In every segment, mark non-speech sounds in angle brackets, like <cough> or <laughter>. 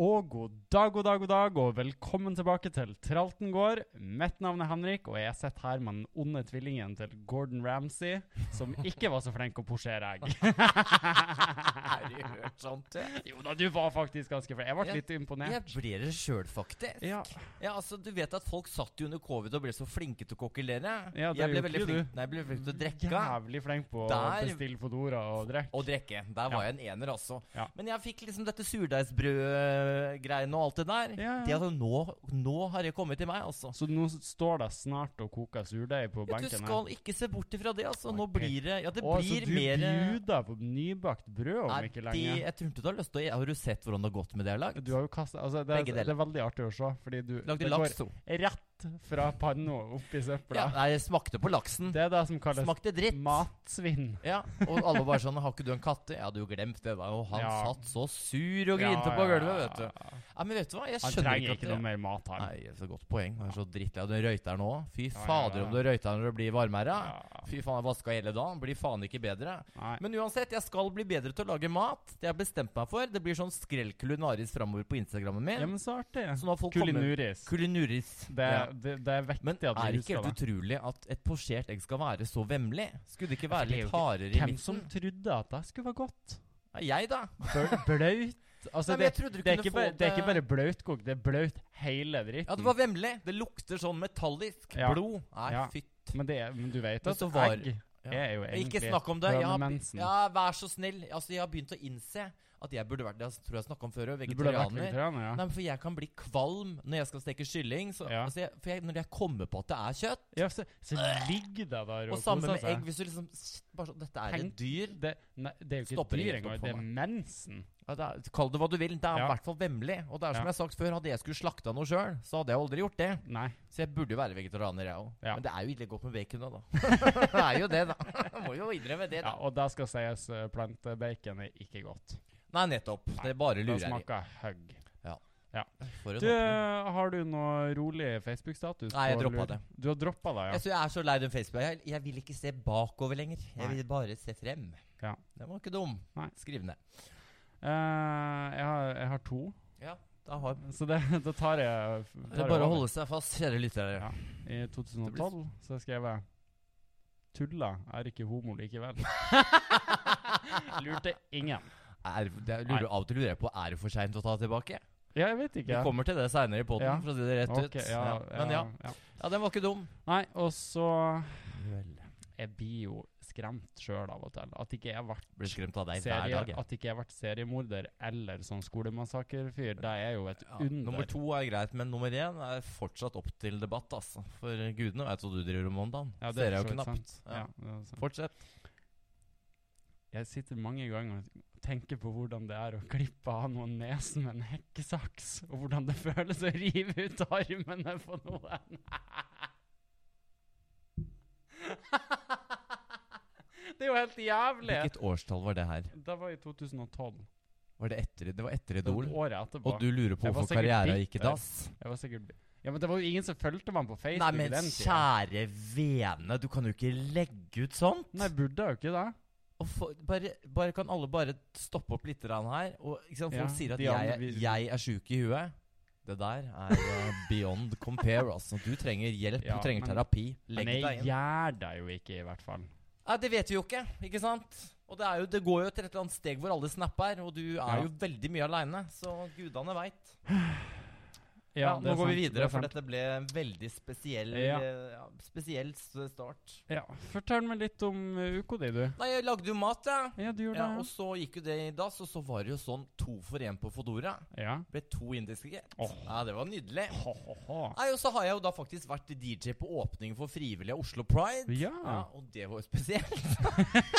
og god dag, god dag, god dag, og velkommen tilbake til Tralten gård. Mitt navn er Henrik, og jeg sitter her med den onde tvillingen til Gordon Ramsay, som ikke var så flink å posjere egg. Er det hørt sånt? Jeg Jo da, du var faktisk ganske flink. Jeg ble Ja. litt imponert. ble det sjøl, faktisk. Ja. Ja, altså, du vet at folk satt jo under covid og ble så flinke til å kokkelere. Ja, det jeg ble gjorde veldig ikke du. Mm, flink, nei, jeg ble flink til å drikke. Jævlig flink på å Der- bestille Fodora og drikke. Og drikke. Der var Ja. jeg en ener, altså. Ja. Men jeg fikk liksom dette surdeigsbrød-greiene og alt det der. Ja, ja. Det at nå, nå har det kommet til meg, altså. Så nå står det snart og koker surdeig på Ja, du benken her. skal ikke se bort ifra det, altså. Nå Ok. blir det Ja, det Å, blir så du mer bjuder på nybakt brød om Nei, ikke de, lenge? jeg tror ikke du har lyst til å Har du sett hvordan det har gått med det jeg har lagd? Du har jo kastet, altså det, Begge er, deler. det er veldig artig å se, fordi du Lagde det går laks, jo. rett fra panna opp i søpla. Ja, mm. nei, jeg smakte på laksen. Det er det som kalles Smakte dritt. matsvinn. Ja, og alle bare sånn 'Har ikke du en katte?' Jeg hadde jo glemt det. da Og han Ja. satt så sur og grinte på gulvet, vet du. Ja, men vet du hva? Jeg Han skjønner trenger ikke ikke at noe det mer mat, han. Nei, så godt poeng. Han er så drittlei av den røyteren òg. Fy ja, fader, ja. om du røyter når det blir varmere. Ja. Fy faen, jeg vaska hele dagen. Blir faen ikke bedre. Nei. Men uansett, jeg skal bli bedre til å lage mat. Det har jeg bestemt meg for. Det blir sånn skrell kulinaris framover på Instagrammen min. Ja, men så artig. så nå har folk kommet Kulinuris. Kulinuris. Det, Ja. det, det er Men viktig at er vi det ikke husker helt det. utrolig at et posjert egg skal være så vemmelig? Skulle det ikke for være det er jo litt ikke- hardere i Hvem som midten? trodde at det skulle være <laughs> godt? Ja, Jeg, da. Blaut? Altså, Nei, men det, jeg trodde du det, er kunne ikke få bare, det er ikke det- bare blautkokt, det er blaut hele dritten. Ja, det var vemmelig. Det lukter sånn metallisk Ja. blod. Nei, Ja. fytt. Men, det, er- men du vet Men at så var- egg Ja. er jo egentlig Ikke snakk om det. Ja, hønemensen. ja, vær så snill. Altså, jeg har begynt å innse at jeg burde vært Det tror jeg snakka om før òg. Du burde vært Vegetarianer. vegetarianer, ja. Nei, men for jeg kan bli kvalm når jeg skal steke kylling. Så, Ja. altså, jeg, for jeg, når jeg kommer på at det er kjøtt. ja så, så ligger det der Og samme med egg. Hvis du liksom s- bare sånn, Dette er altså. Tenk- et dyr. Det, nei, det er jo ikke Stopper dyr helt opp engang, for det er meg. mensen. Ja, det er, kall det hva du vil. Det er i Ja. hvert fall vemmelig. Og det Ja. er som jeg har sagt før, hadde jeg skulle slakta noe sjøl, så hadde jeg aldri gjort det. Nei. Så jeg burde jo være vegetarianer, jeg òg. Ja. Men det er jo ille godt med <laughs> bacon òg, da. det er jo det, da. Må jo innrømme det. Ja, da. og det skal sies, eh, plantebacon er ikke godt. Nei, nettopp. Det bare Det lurer jeg i. smaker høgg. For en Du, eh, åpning. har du noe rolig Facebook-status? Nei, jeg på droppet lur? det. Altså, Du har droppa det, ja. Jeg, synes jeg er så lei den Facebook. Jeg, jeg vil ikke se bakover lenger. Jeg Nei. vil bare se frem. Ja. Den var ikke dum. Nei. Skriv ned. Eh, jeg, har, jeg har to, Ja, da har så det, <laughs> da tar jeg tar det er jeg bare å over. holde seg fast, kjære lyttere. <laughs> Ja. I 2012 så skrev jeg Tulla er ikke homo <laughs> likevel. Lurte ingen. Er, det, er- lurer, av og til lurer jeg på er det for seint å ta tilbake. Ja, jeg vet ikke. Vi kommer til det seinere i poden, Ja. for å si det rett Ok, ut. Ja. Men ja. ja. ja, den var ikke dum. Nei, og så Jeg blir jo skremt sjøl av og til. At ikke jeg ble Blir skremt av deg hver serie, dag. jeg. at ikke jeg ble seriemorder eller sånn skolemassakrefyr, det er jo et Ja, nummer under. to er greit, men nummer én er fortsatt opp til debatt. Altså. For gudene vet hva du driver om om dagen. Ja, det Ser er jeg jo for så vidt knapt. sant. Ja. Ja, det er sant. Fortsett. Jeg sitter mange ganger og tenker på hvordan det er å klippe av noen nesen med en hekkesaks, og hvordan det føles å rive ut armene på noen. <laughs> Det er jo helt jævlig! Hvilket årstall var det her? Det var i 2012. Var det etter, det var etter Det var Idol? Året etterpå. Og du lurer på Jeg var hvorfor sikkert karriera bitter. gikk i dass? Jeg var sikkert Ja, men det var jo ingen som fulgte meg på Facebook Nei, i men den tida. kjære vene, du kan jo ikke legge ut sånt! Nei, burde jeg jo ikke det. Og for, bare, bare Kan alle bare stoppe opp litt grann her? Og ikke sant, Folk Ja, sier at de andre jeg, vil- jeg er sjuk i huet. Det der er eh, beyond compare. Altså. Du trenger hjelp, Ja, du trenger men- terapi. Legg Men jeg deg inn. gjør det jo ikke, i hvert fall. Nei, det vet vi jo ikke, ikke sant? Og det, er jo, det går jo til et eller annet steg hvor alle snapper, og du er Ja. jo veldig mye aleine. Så gudene veit. Ja, Ja, det nå er går vi sant, det videre, er for sant. dette ble en veldig spesiell, Ja. eh, ja, spesiell s- start. Ja, Fortell meg litt om eh, uka di, du. Nei, jeg lagde jo mat, jeg. Ja, du gjorde Ja, og det. så gikk jo det i dass, og så var det jo sånn to for én på Fodora. Ja. Ble to indiske. Åh. Ja, det var nydelig. Ho, ho, ho. Nei, Og så har jeg jo da faktisk vært DJ på åpningen for frivillige Oslo Pride. Ja. og det var jo spesielt.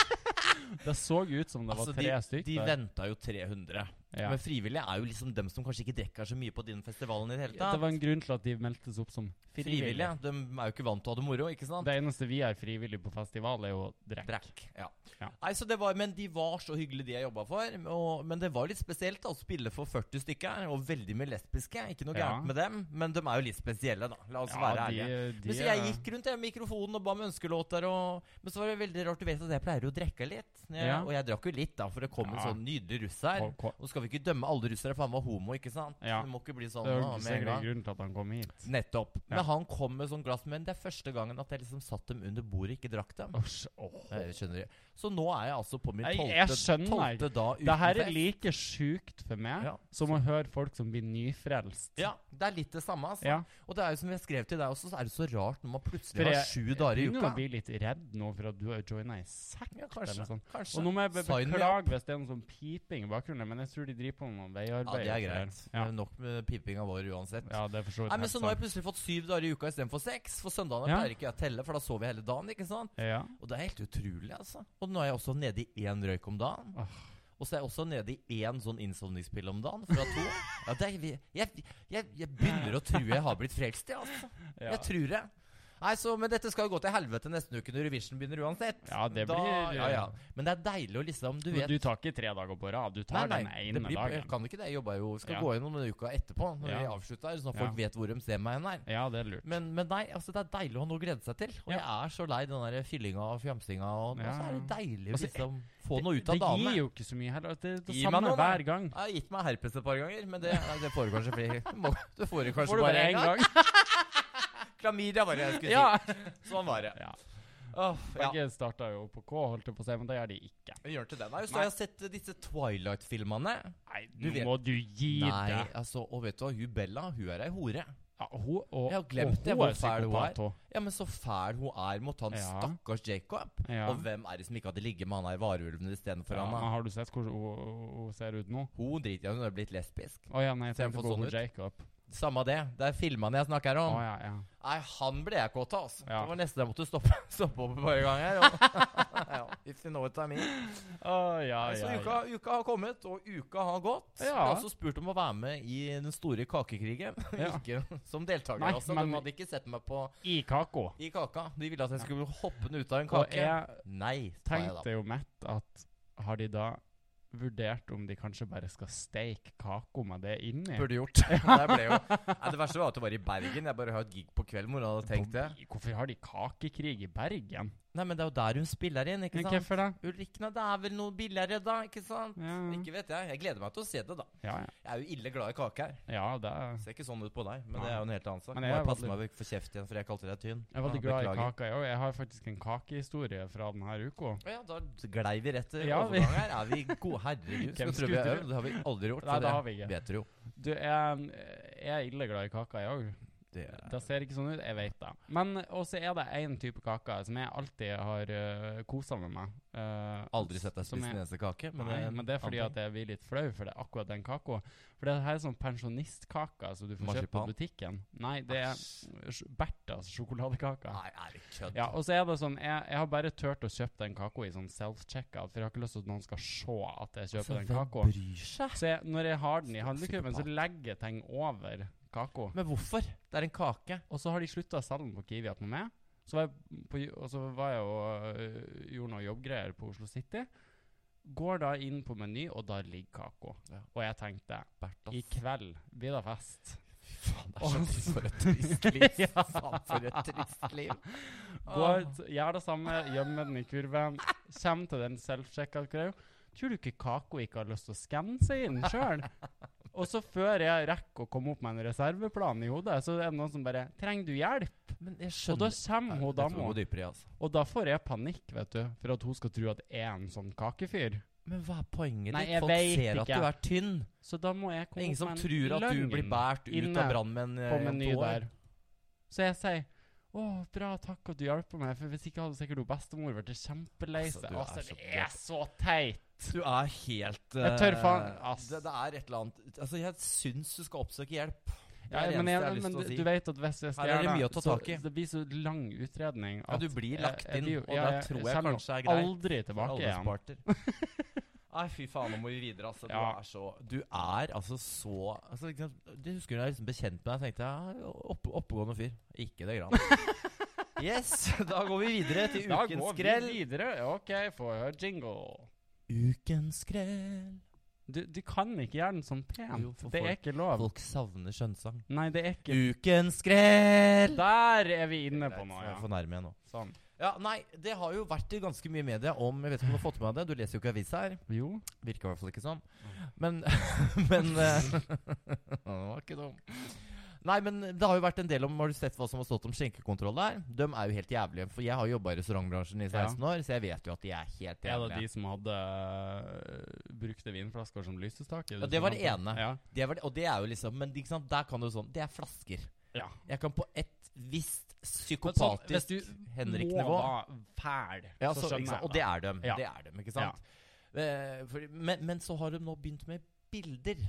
Det så ut som det var Altså, tre de stykker. de venta jo 300. ja. Men frivillige er jo liksom dem som kanskje ikke drikker så mye på din festivalen i det hele Ja, tatt. Det var en grunn til at de meldtes opp som frivillige. frivillige. De er jo ikke vant til å ha det moro, ikke sant? Det eneste vi er frivillige på festival, er jo å drikke. Brekk. Ja. Ja. Nei, så det var, men de var så hyggelige, de jeg jobba for. Og, men det var litt spesielt da, å spille for 40 stykker, og veldig mye lesbiske. Ikke noe Ja. gærent med dem, men de er jo litt spesielle, da. La oss være ærlige. Men så jeg gikk rundt jeg, med mikrofonen og ba om ønskelåter. Og, men så var det veldig rart. Du vet at jeg pleier jo å drikke litt. når Jeg, Ja. Og jeg drakk jo litt, da, for det kom en Ja. sånn nydelig russ her. Ko- ko- Og skal skal vi ikke dømme alle russere, for han var homo, ikke sant? Ja. Det må ikke bli sånn Det er da, jo med en sikkert gang. grunnen til at han kom hit. Nettopp. Ja. Men han kom med sånn glass, men det er første gangen at jeg liksom satt dem under bordet, ikke drakk dem. Usch, åh. Jeg skjønner det. Så nå er jeg altså på min Jeg- tolvte, jeg skjønner ikke. tolvte dag uten Det her er fest. like sjukt for meg Ja. som å høre folk som blir nyfrelst. Ja, det er litt det samme. Altså. Ja. Og det er jo som jeg skrev til deg også, så er det så rart når man For plutselig har jeg- sju dager i Jeg begynner uka. å bli litt redd nå for at du har joina i sekt. Ja, eller kanskje. sånn. kanskje. Og nå må jeg be- Sign me beklage hvis det er noe sånn piping i bakgrunnen, men jeg tror de driver på med noe ja, veiarbeid. det er og greit. sånn. Ja. Det er Nok med pipinga vår uansett. ja, det er for så vidt Nei, men helt Så nå har sant. jeg plutselig fått syv dager i uka istedenfor seks. For søndagene Ja. pleier ikke jeg å telle, for da sover jeg hele dagen. ikke sant? Ja. Og det er helt utrolig, altså. Og nå er jeg også nede i én røyk om dagen. Åh. Og så er jeg også nede i én sånn innsovningspille om dagen fra to. Ja, det er, vi- jeg, jeg, jeg begynner å tro jeg har blitt frelst, ja. Altså. Ja. Jeg tror det. Nei, så, Men dette skal jo gå til helvete neste uke når Eurovision begynner uansett. Ja, det blir- ja, ja. Men det er deilig å liksom Du Men vet du tar ikke tre dager på rad, du tar den det ene blir, jeg dagen. kan ikke det. Jeg jobber jo skal Ja. gå gjennom denne uka etterpå, når Ja. vi avslutter, sånn at folk vet hvor de ser meg hen her. Ja, det er lurt. Men, men nei, altså det er deilig å ha noe å glede seg til. Og Ja. jeg er så lei den der fyllinga og fjamsinga. Og, og Ja, så er det ja. deilig å Altså, liksom få noe ut av det dagene. gir jo ikke så mye heller. Det er det Gi meg samme noe, da. hver gang. Jeg har gitt meg herpes et par ganger, men det, nei, det får du <laughs> kanskje flere må- Det får du Får kanskje du bare én <laughs> gang. gang? Klamydia var det jeg skulle ja. si. Sånn var det. ja. Åh, ja. Begge starta jo på K, holdt jeg på å si, men det gjør de ikke. Jeg gjør til det. Nei, så Nei. har jeg sett eh, disse Twilight-filmene. Nei, Du nå vet- må du gi Nei, deg. altså, og vet du hva? Hun Bella, hun er ei hore. Ja, hun, og, Jeg har glemt og det, hun hvor er fæl hun er. psykopat òg. Ja, men så fæl hun er mot han Ja. stakkars Jacob. Ja. Og hvem er det som ikke hadde ligget med han her varulven istedenfor Ja, han? men da? har du sett hvordan hun, hun- hun ser ut nå? Hun driter i om hun er blitt lesbisk. Å ja, nei, jeg Ser hun tenkte for på sånn hun ut? Sånn. Jacob. Samme det. Det er filmene jeg snakker Å om. ja, ja. Nei, han ble jeg kåt av, altså. Ja. Det var nesten jeg måtte stoppe, <laughs> stoppe opp et par ganger. og- ja, if you know what I mean. Å ja, Så ja, ja. uka, uka har kommet, og uka har gått. Ja. Jeg har også spurt om å være med i den store kakekrigen. Ja. <laughs> ikke som deltaker, Nei, altså. men- De hadde ikke sett meg på I Kako. i kaka. De ville at jeg skulle hoppe den ut av en Og kake. jeg Nei, sa jeg da. tenkte jo mett at har de da vurdert om de kanskje bare skal steike kako med det inni? <laughs> Burde gjort. <laughs> Det, ble jo. Nei, det verste var at det var i Bergen. Jeg bare har et gig på kvelden hvor hun hadde tenkt det. På- Hvorfor har de kakekrig i Bergen? Nei, men det er jo der hun spiller inn, ikke Men sant? Hvorfor det? Ulrikken, det er vel noe billigere da, ikke sant? Ja, Ikke vet jeg. Jeg gleder meg til å se det, da. ja. ja. Jeg er jo ille glad i kake her. ja det er Ser ikke sånn ut på deg, men Nei. det er jo en helt annen sak. Men Må jeg jeg er passe veldig- meg for kjeft igjen, for jeg kalte deg tynn. Jeg er veldig Ja, glad i beklager. kaka, jeg òg. Jeg har faktisk en kakehistorie fra denne uka. Ja, da glei vi rett til Ja, vi- overgang her. Er vi gode? Hvem Herregud, skal tro vi skulle har tro? øvd? Det har vi aldri gjort. Nei, så det har vi ikke. Vet du jo. Du, jeg, jeg er ille glad i kaka, jeg òg. Det Det ser ikke sånn ut. Jeg vet det. Men også er det én type kake som jeg alltid har uh, kosa med meg. eh, Aldri sett deg som spise jeg- en eneste kake. Men, Nei, men det er fordi antar at jeg blir litt flau for det er akkurat den kaka. For det her er sånn pensjonistkake som du får kjøpt på Marsipan? butikken. Nei, det er sj- Berthas sjokoladekake. Nei, er det kødd? Ja, og så er det sånn Jeg, jeg har bare turt å kjøpe den kaka i sånn self-checkout, for jeg har ikke lyst til at noen skal se at jeg Så kjøper den hvem kaka. bryr seg? Så jeg, når jeg har den i handlekurven, så Psykopat. legger jeg ting over kaka. Men hvorfor? Det er en kake. Og så har de slutta å selge den på Kiwi attmed meg. Så var jeg på, og så var jeg og øh, gjorde noen jobbgreier på Oslo City. Går da inn på Meny, og der ligger kaka. Ja. Og jeg tenkte Bertha. i kveld blir det fest. Fy faen, det Åh. er <laughs> så for et trist liv. <laughs> Ja. Faen, for et trist liv. Går, t- gjør det samme, gjemmer den i kurven. Kommer til den self-checkout-greia. Tror du ikke Kako ikke har lyst til å skanne seg inn sjøl? Og så før jeg rekker å komme opp med en reserveplan i hodet, så er det noen som bare 'Trenger du hjelp?' Men jeg Og da skjønner kommer hun dama. Gå dypere i, altså. Og da får jeg panikk, vet du, for at hun skal tro at jeg er en sånn kakefyr. Men hva er poenget Nei, ditt? jeg Folk vet ser at ikke. du er tynn. Så da må jeg Det er komme ingen som opp med en tror at du løgn blir båret ut inne av brannmenn eh, på om meny to år. der. Så jeg sier å, bra, takk at du hjalp meg, for hvis ikke hadde sikkert hun bestemor blitt kjempelei Altså, seg. du Altså, er så det er så teit! Du er helt Jeg tør eh, faen- ass. det, det er et eller annet Altså, jeg syns du skal oppsøke hjelp. Det Ja, er det men eneste jeg, jeg har lyst men til å du- si. du vet at hvis jeg skal Her er det gjøre mye å ta tak i. så det blir så lang utredning Ja, at du blir jeg- lagt jeg inn, blir jo- og det tror jeg kommer kanskje er greit Aldri tilbake igjen. igjen. <laughs> Nei, fy faen, nå må vi videre, altså. Du Ja. er så Du er altså så altså, ikke sant, Du husker da jeg liksom ble kjent med deg, tenkte jeg ja, opp, oppegående fyr. Ikke det grann. <laughs> yes, da går vi videre til Da ukens går skrell. vi videre. OK, få høre jingle. Ukens skrell. Du, du kan ikke gjøre den sånn pent. Jo, for det er folk- ikke lov. Folk savner skjønnsang. Nei, det er ikke Ukens skrell! Der er vi inne på Greit, noe, jeg er ja. for nærme igjen nå. Sånn. Ja, nei, det har jo vært i ganske mye media om Jeg vet ikke om du har fått med deg det? Du leser jo ikke avisa her. Jo. Virker i hvert fall ikke sånn. Mm. Men, <laughs> men eh, <laughs> Det var ikke dum. Nei, men det har jo vært en del om Har du sett hva som har stått om skjenkekontroll der? De er jo helt jævlige. For jeg har jobba i restaurantbransjen i 16 år, så jeg vet jo at de er helt Er det jævlige. de som hadde øh, brukte vinflasker som lysestaker? Ja, det var det ene. Ja. Det er vel, og det er jo liksom Men ikke sant, der kan du sånn Det er flasker. ja. Jeg kan på et visst Men sånn, psykopatisk hvis Henrik-nivå Må være fæl, ja, så så, ikke skjønner sant? jeg Og det er dem. Ja. Det er dem, ikke sant? Eh, fordi- men, men så har de nå begynt med bilder.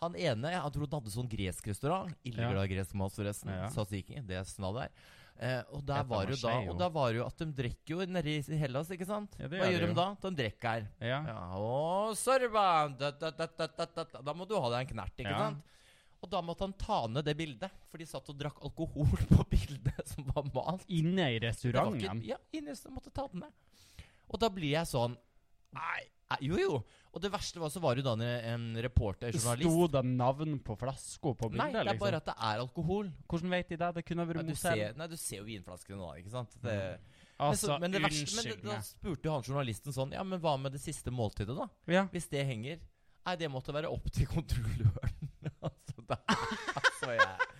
Han ene Jeg tror han hadde sånn gresk restaurant. Ille Ja. glad i gresk mat, forresten. Ja. Tzatziki. Det er snadder. Eh, og der Dette var må jo da skje, jo. Og da var jo at de drikker jo nede i Hellas, ikke sant? Ja, det Hva gjør de gjør de jo. da? De drikker her. Ja. Ja, å, sorba! Da, da, da, da, da, da, da. da må du ha deg en knert, ikke Ja. sant? Og da måtte han ta ned det bildet, for de satt og drakk alkohol <laughs> på bildet som var malt. Inne i Det var ikke- restauranten. Ja, innest, måtte ta den ned. Og da blir jeg sånn Nei, nei, jo jo. Og det verste var så var jo da en, en reporter, journalist Sto det navn på flaska på Nei, det bildet? er liksom? bare at det er alkohol. Hvordan vet de det? Det kunne Ja, vært du, Mozell. ser, nei, du ser jo vinflaskene nå, ikke sant? Det, Altså, men, så, men det verste, men unnskyld det, da meg. spurte jo han journalisten sånn Ja, men hva med det siste måltidet, da? Ja. Hvis det henger Nei, det måtte være opp til kontrolløren. <laughs> altså, da, altså, jeg,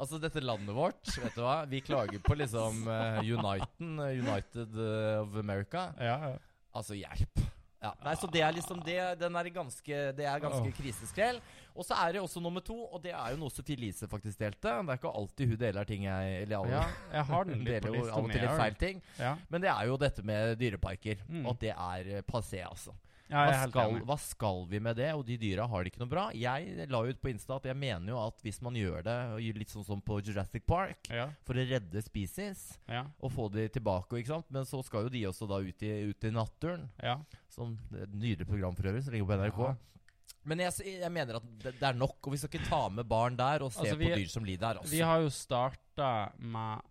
altså, dette landet vårt, vet du hva Vi klager på liksom eh, Uniten, eh, United eh, of America. Ja, ja. Altså, hjelp. Ja, nei, så det er liksom det, den er ganske, det er ganske Åh. kriseskrell. Og så er det også nummer to, og det er jo noe Sophie Elise faktisk delte. Det er ikke alltid hun deler ting jeg Eller alle ja, jeg har den litt på <laughs> deler jo lista av mi. og til litt jeg. feil ting. Ja. Men det er jo dette med dyreparker, Mm. og at det er eh, passé, altså. Ja, jeg Hva er helt skal, enig. hva skal vi med det? Og de dyra har det ikke noe bra. Jeg la ut på Insta at jeg mener jo at hvis man gjør det og gjør litt sånn som på Jurassic Park Ja, for å redde species ja, og få de tilbake, ikke sant? men så skal jo de også da ut i, ut i naturen. ja. Som det er Sånn, et nydelig program for øvrig, som ligger på NRK. Ja. Men jeg, s- jeg mener at det, det er nok, og vi skal ikke ta med barn der og se Altså, vi- på dyr som lider her. Altså. Vi har jo starta med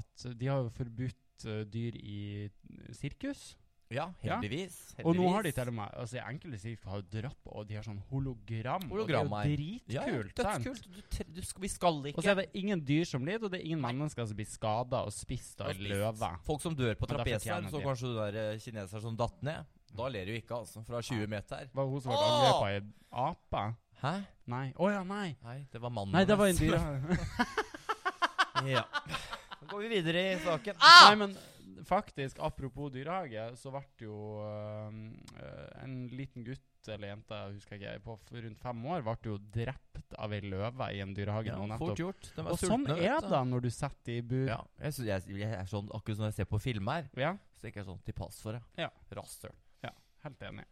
at de har jo forbudt eh, dyr i sirkus. Ja, Ja. heldigvis. heldigvis. Og nå har de til og med altså, Enkelte sirkus har jo drøpp, og de har sånn hologram. Hologram og det er jo ja, ja, dritkult. sant? dødskult. Du, tre- du, skal- vi skal ikke Og så er det ingen dyr som lider, og det er ingen mennesker som blir skada og spist av Og en spist. løve. Folk som dør på Men da trapes her, fortjener så de. kanskje du der eh, kineser som datt ned. Da ler du ikke, altså. Fra 20 meter. Var hun som ble Åh! angrepet av ei ape? Hæ? Nei. Å ja, nei. Nei, det var mannen. Nei, det var en hennes. dyre... <laughs> ja. Da går vi videre i saken. Ah! Nei, men faktisk, apropos dyrehage, så ble det jo eh, en liten gutt eller jente, jeg husker ikke, på f- rundt fem år, ble jo drept av ei løve i en dyrehage nå fort nettopp. gjort. De Og sånn sultne, er vet du. det når du setter i bur. Ja, jeg, sy- jeg, jeg er sånn, akkurat som når jeg ser på filmer, Ja, så tenker jeg sånn til pass for det. Ja. Rasshøl. helt enig.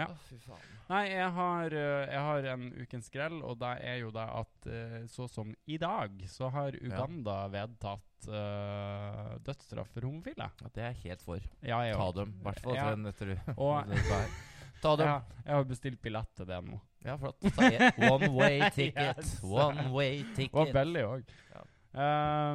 Ja. Å, fy faen. Nei, jeg har, eh, jeg har en ukens grell, og det er jo det at eh, så som i dag, så har Uganda vedtatt eh, dødsstraff for homofile. Ja, det er jeg helt for. Ja, jeg Ta òg. dem. I hvert fall Ja. <laughs> den etter du. Og- Ta dem. Ja, jeg har bestilt billett til det nå. Ja, flott. Ta en- <laughs> One way ticket. Yes. One way Det ticket. var billig òg. Ja.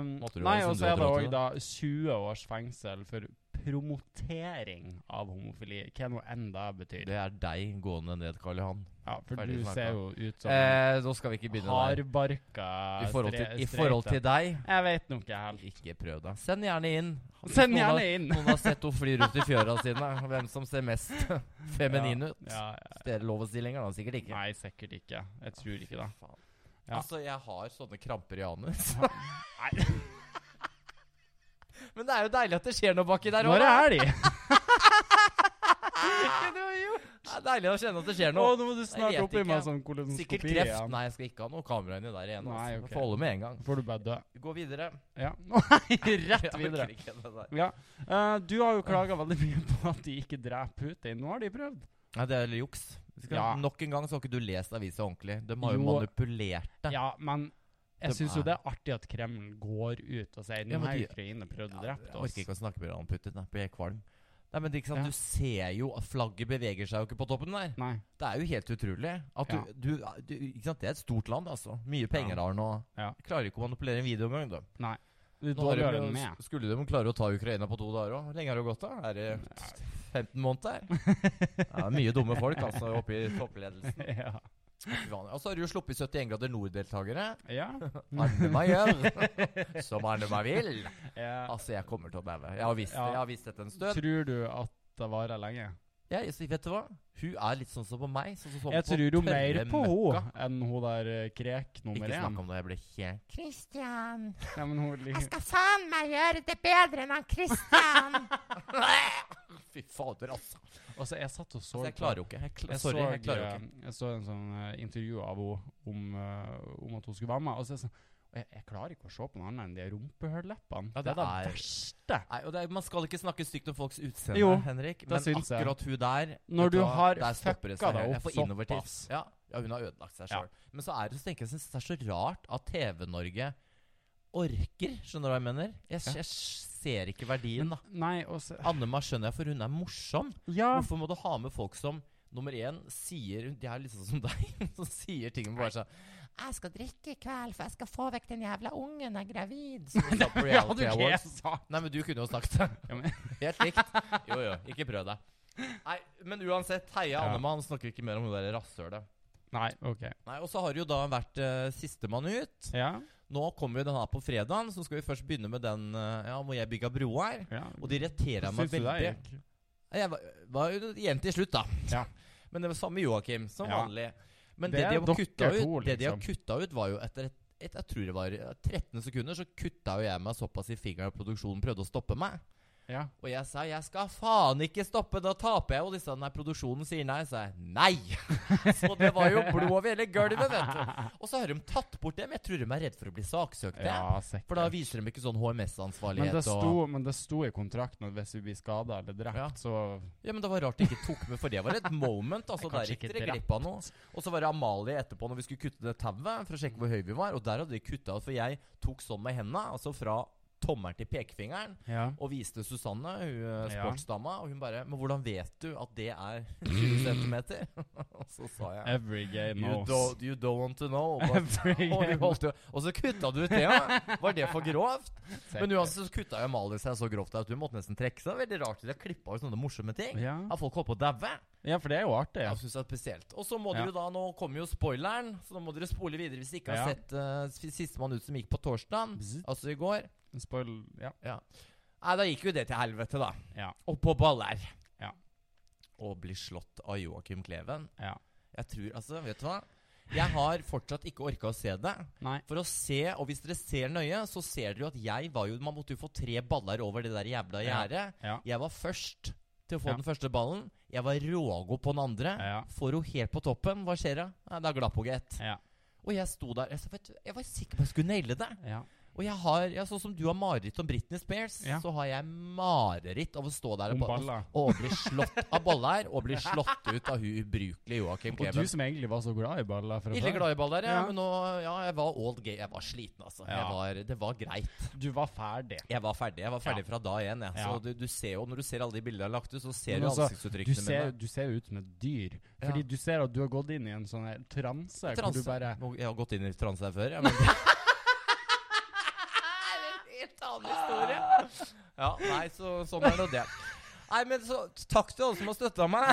Måtte du ha liksom nei, en og så er det òg Sundre-drate, da 20 års fengsel for promotering av homofili. Hva nå enn det betyr. Det er deg gående ned, Karl Johan. Ja, for Ferdig du snakka. ser jo ut som en Eh, nå skal vi ikke begynne der. hardbarka I forhold, til, stre- I forhold til streite. deg Jeg vet nå ikke helt. Ikke prøv deg. Send gjerne inn. Send Noen gjerne har- inn! Noen har sett henne fly rundt i fjøra sine. Hvem som ser <laughs> mest feminin ut. Ja, ja. Det er lov å si lenger, da. Sikkert ikke. Nei, sikkert ikke. Jeg tror ikke det. Faen. Ja. Altså, jeg har sånne kramper i anus. Men det er jo deilig at det skjer noe baki der Når også, da. er de? Det er deilig å kjenne at det skjer Nå, noe. nå må du Jeg snart vet opp i meg ikke. sånn Sikkert kolonoskopi kreft. igjen. Nei, jeg skal ikke ha noe kamera inni der igjen. Nei, Altså. ok. Får holde med en gang. Får du bare dø. Gå <laughs> videre. Ja. Nei, Jeg rett orker videre. ikke det der. Ja. Eh, du har jo klaga veldig mye på at de ikke dreper Putin. Nå har de prøvd. Nei, det er juks. Skal, Ja. Nok en gang så har ikke du lest avisa ordentlig. De har jo, Jo. manipulert det. Ja, men jeg De syns jo er- det er artig at Kreml går ut og sier Ja, nå men har de- Ukraina prøvd å Ja, drepe Jeg oss. orker ikke å snakke mer om Putin. Da blir jeg kvalm. Nei, men det er ikke sant, Ja. Du ser jo at flagget beveger seg jo ikke på toppen der. Nei. Det er jo helt utrolig. At du, du, du, ikke sant? Det er et stort land, altså. Mye penger Ja. har nå. Ja. Klarer ikke å manipulere en video engang. da. Du Nå har de dårligere jo- enn meg. Skulle de klare å ta Ukraina på to dager òg? Hvor lenge har det gått, da? Er det <laughs> 15 måneder? Ja, mye dumme folk altså oppe i toppledelsen. <laughs> <laughs> ja. Og så har du jo sluppet 71 grader nord-deltakere. Ja. Arne meg <laughs> gjør som Arne meg vil. Jeg, Altså, jeg kommer til å daue. Jeg har visst Ja. jeg har visst dette en stund. tror du at det varer lenge? Ja, jeg, vet du hva? Hun er litt sånn som på meg. Sånn, som så Jeg på tror jo tørre mer på møkka. henne enn hun der eh, krek nummer Ikke snakk én. om det, jeg blir helt Kristian, Nei, men hun Jeg lik- skal faen meg gjøre det bedre enn han Christian. <laughs> Fy fader, altså. Altså, jeg satt og så altså jeg på- klarer jo ikke. Jeg kl Jeg Sorry, så, jeg klarer jo ikke. eh, jeg så en sånn eh, intervju av henne om, eh, om at hun skulle være med. Og så er jeg sånn og jeg, jeg klarer ikke å se på noe annet enn de rumpehullleppene. Ja, det, det er er- det verste. Nei, og det er, Man skal ikke snakke stygt om folks utseende, Jo, Henrik. det Men syns jeg. akkurat hun der Når vet du hva, har der stopper det fucka seg deg helt. opp Jeg får innovativ. såpass. Ja, ja, hun har ødelagt seg Ja. sjøl. Men så er det så tenker jeg, jeg synes det er så rart at TV-Norge orker. Skjønner du hva jeg mener? Jeg, Ja. jeg ser ikke verdien, da. Nei, og så Annema skjønner jeg, for hun er morsom. Ja. Hvorfor må du ha med folk som nummer én sier De er litt sånn som deg, <laughs> som sier ting bare sånn Jeg skal drikke i kveld, for jeg skal få vekk den jævla ungen jeg er gravid. som du sa <laughs> på Ja, du Reality ikke Awards. jeg sa Nei, men du kunne jo snakket. Ja, men- <laughs> Helt likt. Jo, jo, ikke prøv deg. Nei, Men uansett, heia Ja. Annema. Han snakker ikke mer om det der rasshølet. Nei, OK. Nei, Og så har det jo da vært eh, sistemann ut. Ja. Nå kommer jo den her på fredagen, så skal vi først begynne med den eh, ja, hvor jeg bygga broa her. ja. Og det irriterer meg Syns du det veldig. gikk? Nei, Jeg var, var jo igjen til slutt, da. Ja. Men det var samme Joakim, som Ja. vanlig. Men Det det, er de har kutta dere ut, to, det de har liksom. kutta ut, var jo etter et, et Jeg tror det var eh, 13 sekunder, så kutta jo jeg meg såpass i fingeren at produksjonen prøvde å stoppe meg. Ja. Og jeg sa 'jeg skal faen ikke stoppe', da taper jeg jo. Disse nei, produksjonen sier nei, så jeg nei! <laughs> Så det var jo blod over hele gulvet, vet du. Og så har de tatt bort dem. Jeg tror de er redd for å bli saksøkt. ja, jeg. sikkert. For da viser de ikke sånn men det, HMS-ansvarlighet sto, og men det sto i kontrakten at hvis vi blir skada eller drept, Ja. så Ja, men det var rart de ikke tok med, for det var et moment. Altså, Jeg er der kanskje gikk ikke dere drept. glipp av noe. Og så var det Amalie etterpå, når vi skulle kutte det tauet, for å sjekke hvor høy vi var. Og der hadde de kutta ut, for jeg tok sånn med henda, altså fra tommelen til pekefingeren. Ja. Og viste Susanne, hun eh, Ja. sportsdama, og hun bare 'Men hvordan vet du at det er 20 cm?' <laughs> og så sa jeg Every gay You knows. don't, you don't want to know. Og, <laughs> Every og, gay hun holdt jo- og så kutta du ut det, ja. Var det for grovt? Men knows. uansett så kutta jo Amalie seg så grovt at hun måtte nesten trekke seg. Veldig rart. De har klippa ut sånne morsomme ting. ja. Har folk holdt på å daue? Mm. ja, for det er jo artig. Jeg synes det er spesielt. Og så må Ja. dere da, nå kommer jo spoileren, så nå må dere spole videre hvis dere ikke har Ja. sett uh, Sistemann ut som gikk på torsdag, Bzz. altså i går. Spoil... Ja. Nei, da gikk jo det til helvete, da. Ja. Og på baller. Ja. Og bli slått av Joakim Kleven. Ja. Jeg tror, altså, vet du hva? Jeg har fortsatt ikke orka å se det. Nei. For å se, og hvis dere ser nøye, så ser dere jo at jeg var jo Man måtte jo få tre baller over det der jævla Ja. gjerdet. Ja. Jeg var først til å få Ja. den første ballen. Jeg var rågod på den andre. Ja. Får hun helt på toppen, hva skjer da? Nei, da glapp hun gitt. Ja. Og jeg sto der jeg, sa, vet, du, jeg var sikker på at jeg skulle naile det. ja. Og jeg har, ja, Sånn som du har mareritt om Britney Spears, Ja. så har jeg mareritt av å stå der og, Om ba- baller. og bli slått av baller og bli slått ut av hun ubrukelige Joakim Og du Kleven. som egentlig var så glad i baller fra Ille før. glad i baller, ja. Ja. Men nå, ja, jeg var old gay. Jeg var sliten, altså. Jeg Ja. var, det var greit. Du var ferdig. Jeg var ferdig Jeg var ferdig fra da igjen. Jeg. Ja. Så du, du ser jo, Når du ser alle de bildene jeg har lagt ut, så ser Men du altså, Du ansiktsuttrykkene ser, mine. du ser ut som et dyr. Ja. Fordi du ser at du har gått inn i en sånn her transe. Hvor du Transe. bare <laughs> Nå- Jeg har gått inn i transe her før, ja, men <laughs> det er en helt annen historie. Ja, nei, så sånn er nå det. Nei, men så takk til alle som har støtta meg.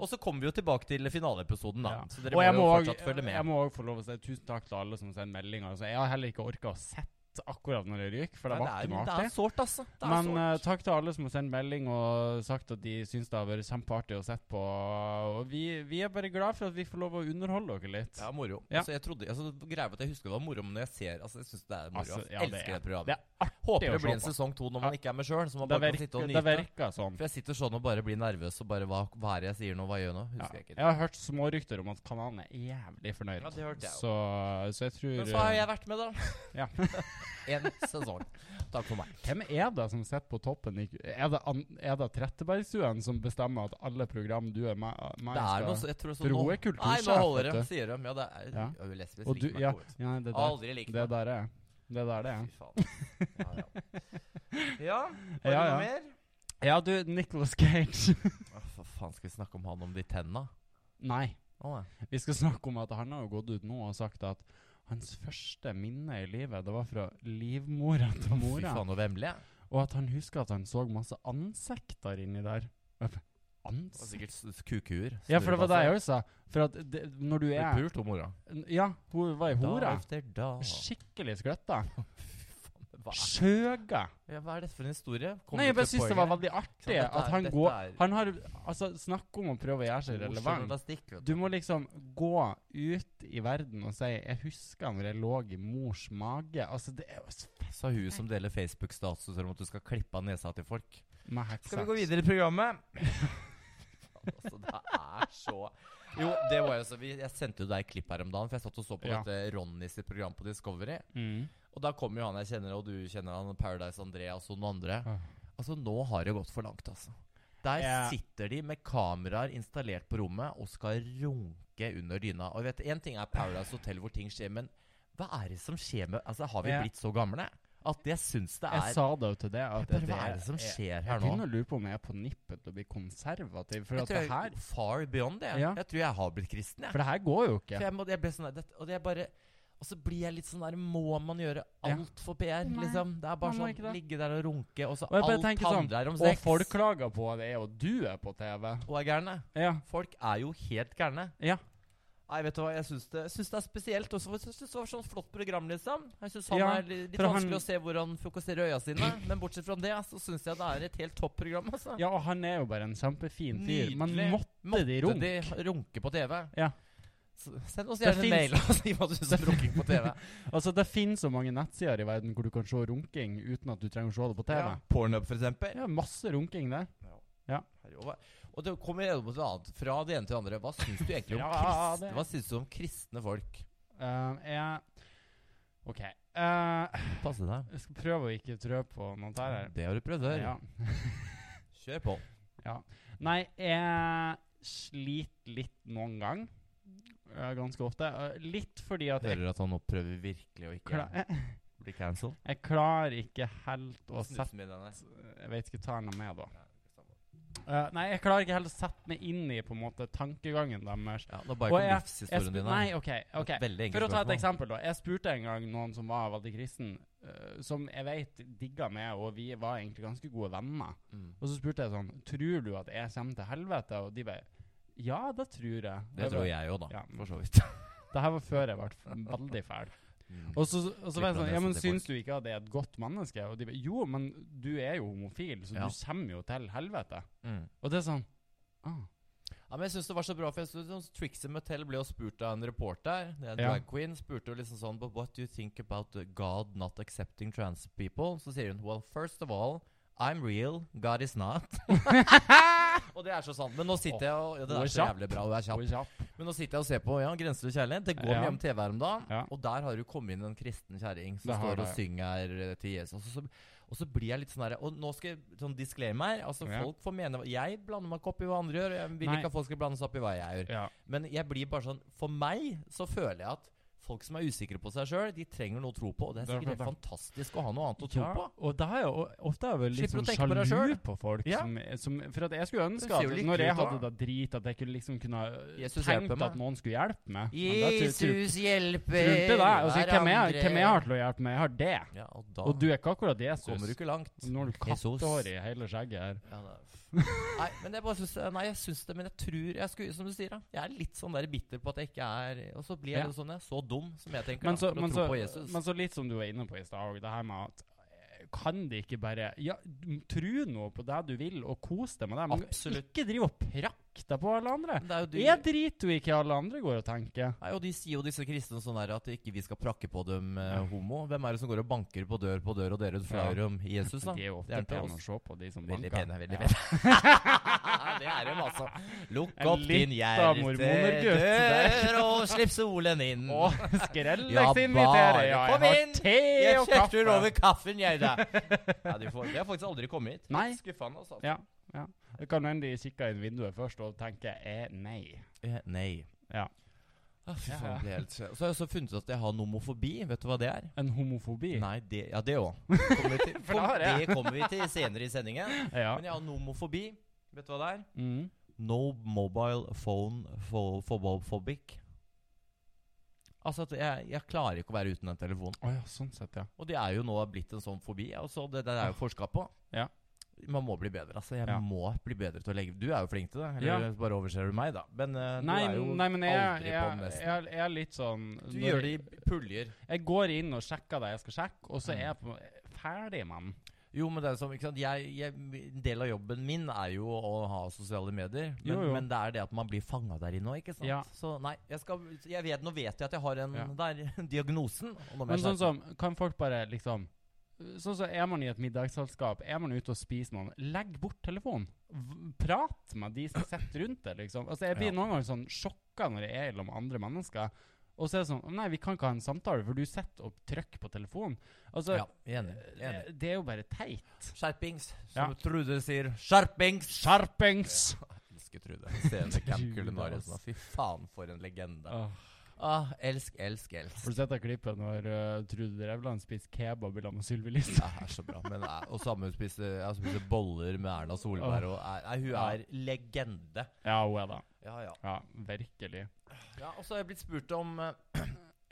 Og så kommer vi jo tilbake til finaleepisoden, da. Ja. Så dere Og jeg må må jo også- fortsatt følge med. Jeg må òg få lov å si tusen takk til alle som sender meldinger. Altså, jeg har heller ikke orka å sette akkurat når det ryker, for det Nei, var ikke noe det, er, det artig. er sårt, altså. Det er Men eh, sårt. takk til alle som har sendt melding og sagt at de syns det har vært kjempeartig å sette på. Og vi, vi er bare glad for at vi får lov å underholde dere litt. ja, moro. Ja. Altså, jeg trodde, altså, greia var at jeg husker det var moro, men når jeg ser altså, Jeg syns det er moro. Altså, altså. ja, jeg elsker er- det programmet. Det, er artig Håper å det se blir en på. sesong to når man ikke er med sjøl, så man det, bare kan sitte virker, og det nyte. virker sånn. For jeg sitter sånn og bare blir nervøs og bare Hva, hva er det jeg sier nå? Hva gjør jeg nå? Ja. Husker jeg ikke. Jeg har hørt smårykter om at kanalen er jævlig fornøyd. Ja, det hørte jeg også. så, så jeg tror Men så har jeg vært med, da. <laughs> Ja. <laughs> en sesong. Takk for meg. Hvem er det som sitter på toppen? i- Er det, an- er det Trettebergstuen som bestemmer at alle program du er med, med Det er skal- noe så, jeg tror det er For hun nå- er kultursjef, Nei, nå holder vet det, du. sier de. Ja, det er Ja. ja. lesbisk. Og du, ja, ja, det der, Aldri likt det meg. der er det der det er. Fy faen. Ja, ja. ja, var Ja, det noe ja. mer? Ja, du, Nicholas Cage. <laughs> Å, for faen, skal vi snakke om han om de tenna? Nei. Å, nei. Vi skal snakke om at han har jo gått ut nå og sagt at hans første minne i livet, det var fra livmora til Fy mora. faen, så vemmelig. jeg. <laughs> Og at han husker at han så masse ansikter inni der. Og jeg bare, Det var ansikt. sikkert s- s- kukuer. Ja, for det var det jeg snurrepasser. òg sa. For at det, når du Ble er pult, hun mora. Ja, hun var ei hore. Dag etter dag. Skikkelig skvøtta. Hva, er- Skjøga. ja, hva er dette for en historie? Kommer Nei, jeg du til bare syns det var poenget? veldig Så artig dette at er- han dette går er- Han har Altså, snakk om å prøve å gjøre seg Morsom relevant. elastikk, vet Du må liksom gå ut i verden og si 'Jeg husker når jeg lå i mors mage'. Altså, det er jo s- Sa hun som deler Facebook-statuser om at du skal klippe av nesa til folk. med heksa. Skal vi gå videre i programmet? <laughs> altså, det er så Jo, det var jo så vi, Jeg sendte jo deg et klipp her om dagen, for jeg satt og så på Ja. dette Ronny sitt program på Discovery. Mm. Og da kommer jo han jeg kjenner, og du kjenner han, og Paradise Andreas og noen andre. Ah. Altså, nå har det gått for langt, altså. Der Ja. sitter de med kameraer installert på rommet og skal runke under dyna. Og vet, Én ting er Paradise Hotel hvor ting skjer, men hva er det som skjer med Altså, Har vi Ja. blitt så gamle at jeg syns det Jeg er sa det jo til deg. At bare, det Hva er det som jeg- skjer Jeg her nå? begynner å lure på om jeg er på nippet til å bli konservativ. For, Jeg at det, tror jeg her, er far beyond det. Ja. Jeg tror jeg har blitt kristen, jeg. for det her går jo For ikke. jeg, må, jeg ble sånn der, det, og, jeg bare, og så blir jeg litt sånn der Må man gjøre Ja. alt for PR? Nei, liksom Det er bare man må ikke sånn det. ligge der og runke, og så Og jeg bare alt tenker sånn, handler om Og sex. folk klager på det, og du er på TV. og er gærne. Ja. Folk er jo helt gærne. Ja. Nei, vet du hva, jeg syns det, syns det er spesielt. Og så syns det var sånn flott program, liksom. Jeg syns han Ja, er li- litt for han- vanskelig å se hvor han fokuserer øya sine. Men bortsett fra det, så syns jeg det er et helt topp program, altså. ja, og han er jo bare en kjempefin fyr. Men Nydelig. måtte, de runke? De runke på TV. Ja. S- Send oss Det gjerne en mail og <laughs> si hva du syns om runking <laughs> på TV. Altså, det finnes så mange nettsider i verden hvor du kan se runking uten at du trenger å se det på TV. Ja. Pornhub, for eksempel. Ja, masse runking der. Herre, Og hva- og det kommer jo noe annet. Fra det ene til det andre. Hva syns du egentlig om, Ja, kristne? det- Hva syns du om kristne folk? Eh, jeg OK. eh, Passe deg. jeg skal prøve å ikke trø på noe der. Det har du prøvd her. før. Ja. Kjør på. Nei, jeg sliter litt noen gang. Eh, ganske ofte. Eh, litt fordi at jeg, Hører at han nå prøver virkelig å kla ikke jeg, bli cancelled. jeg klarer ikke helt å sette Snusen min, den der. Jeg vet ikke hva han er med, da. Eh, nei, jeg klarer ikke helt å sette meg inn i på en måte tankegangen deres. Ja, nå Og bare kom jeg- Jeg livshistorien sp- din. Nei, OK. ok Veldig enkelt For å ta et spørsmål. eksempel, da. Jeg spurte en gang noen som var veldig kristen, eh, som jeg vet digga meg, og vi var egentlig ganske gode venner. Mm. Og så spurte jeg sånn Tror du at jeg kommer til helvete? Og de bare Ja, det tror jeg. Og Det bare, tror jeg jo, da. Ja. For så vidt. Det her var før jeg ble f- veldig fæl. Mm. Og så, og så var jeg Klipper sånn nesen Ja, men til syns folk. du ikke at jeg er et godt menneske? Og de bare Jo, men du er jo homofil, så Ja. du kommer jo til helvete. Mm. Og det er sånn ah, Ja, men jeg synes det var så bra, for jeg synes sånn Trixie Mattel ble jo spurt av en reporter, det er en Ja. drag queen, spurte jo liksom sånn But what do you think about uh, God not accepting trans people? Så sier hun Well, first of all, I'm real, God <laughs> is not. og det er så sant. Men nå sitter jeg og ja, Det Hun er er så kjapp. jævlig bra, hun er kjapp. Oi, kjapp. Men nå sitter jeg og ser på ja, Grenseløs kjærlighet. Det går Ja. mye om TV her om dagen. Ja. Og der har du kommet inn en kristen kjerring som Det har står og det, ja. synger eh, til Jesus. Og så, og så blir jeg litt sånn der Og nå skal jeg sånn disclaimer. Altså Ja. Folk får mene Jeg blander meg ikke opp i hva andre gjør. og Jeg vil Nei. ikke at folk skal blande seg opp i hva jeg gjør. Ja. Men jeg blir bare sånn For meg så føler jeg at folk som er usikre på seg sjøl, de trenger noe å tro på. Og det er Det er sikkert helt klart fantastisk å ha noe annet å tro Ja, på. Og det er jo ofte er jeg vel litt Slipper å sånn tenke på deg sjalu selv. på folk. Ja. Som, som, for at jeg skulle Det ønske ser at jo lykkelig når jeg ut, hadde da. det drit, at jeg kunne liksom kunne tenkt Jesus hjelper meg. at noen skulle hjelpe meg. Men det tror- tror- Jesus hjelper tror ikke det. Altså, hvem, jeg, hverandre. hvem jeg har til å hjelpe meg? Jeg har det. Ja, og da Og du er ikke akkurat kommer du Jesus. ikke langt. Når du Jesus. kattehår i hele skjegget her. Ja, det- nei, men jeg bare syns Nei, jeg syns det, men jeg tror jeg skulle, Som du sier, da. Jeg er litt sånn der bitter på at jeg ikke er Og så blir jeg Ja. litt sånn jeg, så dum som jeg tenker, Men da, så, for men, å så, tro på Jesus. men så litt som du var inne på i stad òg, det her med at eh, kan de ikke bare ja, m- tro nå på det du vil, og kose deg med det, men Absolutt. ikke drive og prakte deg på alle andre? Men det er jo de, Jeg driter jo ikke i hva alle andre går og tenker. Nei, og de sier jo disse kristne sånn der at ikke vi skal prakke på dem eh, homo. Hvem er det som går og banker på dør på dør, og dere flauer om Jesus, da? De er jo ofte Altså, Det er ikke pene å oss. se på, de som Veldig banker. pene, veldig Ja. pene. <laughs> det er dem, altså. Lukk En opp din lita mormonergutt der. gjertedør og slipp solen inn. Å, Skrellex Ja, inviterer! bare Ja, kom jeg inn. har te Jeg og kaffe! kjefter over kaffen, jeg, da. Ja, du får, det har faktisk aldri kommet hit. Nei. Skuffende, altså. Ja, ja. Det kan hende de kikker inn vinduet først og tenker eh, nei. Eh, Nei. Ja. Ah, fy Ja, faen, ja. det er helt sjø- Så har jeg også funnet ut at jeg har nomofobi. Vet du hva det er? En homofobi? Nei, det, ja, det <laughs> òg. Det For det har jeg. kommer vi til senere i sendingen. Ja. Men jeg har nomofobi. Vet du hva det er? Mm. No mobile phone pho- phobophobic. Altså at jeg, jeg klarer ikke å være uten en telefon. Å ja, sånn sett, ja. Og det er jo nå blitt en sånn fobi, og så det, det er jo forska på. Ja. Man må bli bedre, altså. Jeg Ja. må bli bedre til å legge Du er jo flink til det. Eller Ja. bare overser du meg, da. Men eh, Nei, du er jo nei, men jeg, aldri jeg, på jeg, nesten. jeg er litt sånn Du når gjør det jeg- i puljer. Jeg går inn og sjekker det jeg skal sjekke, og så Mm. er jeg på ferdig, mann. Jo, men det er som, ikke sant? Jeg, jeg, en del av jobben min er jo å ha sosiale medier. Men, Jo, jo. men det er det at man blir fanga der inne òg, ikke sant. Ja. Så nei, jeg skal, jeg vet, nå vet jeg at jeg har en Ja. der, <laughs> diagnosen. Og nå må Men jeg sånn skjerpe meg. som, kan folk bare liksom Sånn som er man i et middagsselskap, er man ute og spiser noen, legg bort telefonen. V- Prat med de som sitter rundt deg, liksom. Altså, jeg blir Ja. noen ganger sånn sjokka når jeg er sammen med andre mennesker. Og så er det sånn Nei, vi kan ikke ha en samtale, for du sitter og trykker på telefonen. Altså, ja, enig. enig. det, det er jo bare teit. Skjerpings, Ja. som Trude sier. Skjerpings! Skjerpings! Elsker Trude. Scene <laughs> Camp Trude, Kulinarius. ass. Fy faen, for en legende. Åh. Ah, elsk, elsk, elsk. Har du sett det klippet når eh, Trude Drevland spiser kebab i lag med Sylvi Listhaug? Det er så bra. Men, eh, og sammen spiser jeg spiser boller med Erna Solberg. Og, er- nei, hun er legende. Ja, hun er det. Ja, ja. Ja, virkelig. Ja, og så har jeg blitt spurt om eh, <clears throat>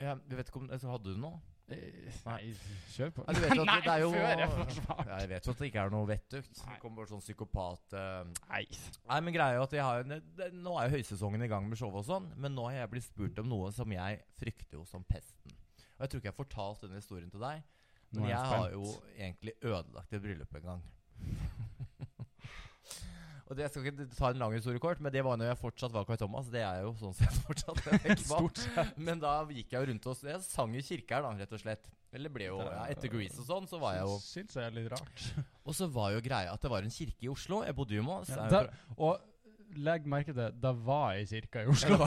ja, Jeg vet ikke om altså, Hadde du noe? Nei, kjør på. Ja, du vet jo at <laughs> Nei, det er jo- før jeg får svart. Ja, jeg vet jo at det ikke er noe vettugt. Nei. Det kommer bare sånn psykopat eh, Nei. Nei, men greia er jo at jeg har en, det, Nå er jo høysesongen i gang med showet og sånn, men nå har jeg blitt spurt om noe som jeg frykter jo som pesten. Og jeg tror ikke jeg har fortalt denne historien til deg, Nå men er jeg, jeg har spent. jo egentlig ødelagt et bryllup en gang. <laughs> og det, Jeg skal ikke ta en lang historie kort, men det var når jeg fortsatt var Kai Thomas. Det er jo sånn sett fortsatt en <laughs> vekstmann. Men da gikk jeg jo rundt og Jeg sang i kirka her, da, rett og slett. Eller ble jo ja, Etter Grease og sånn, så var jeg jo Syns jeg er litt rart. Og så var jo greia at det var en kirke i Oslo. Jeg bodde jo i Mo. så jeg- Der, og legg merke til, da var jeg i kirka i Oslo.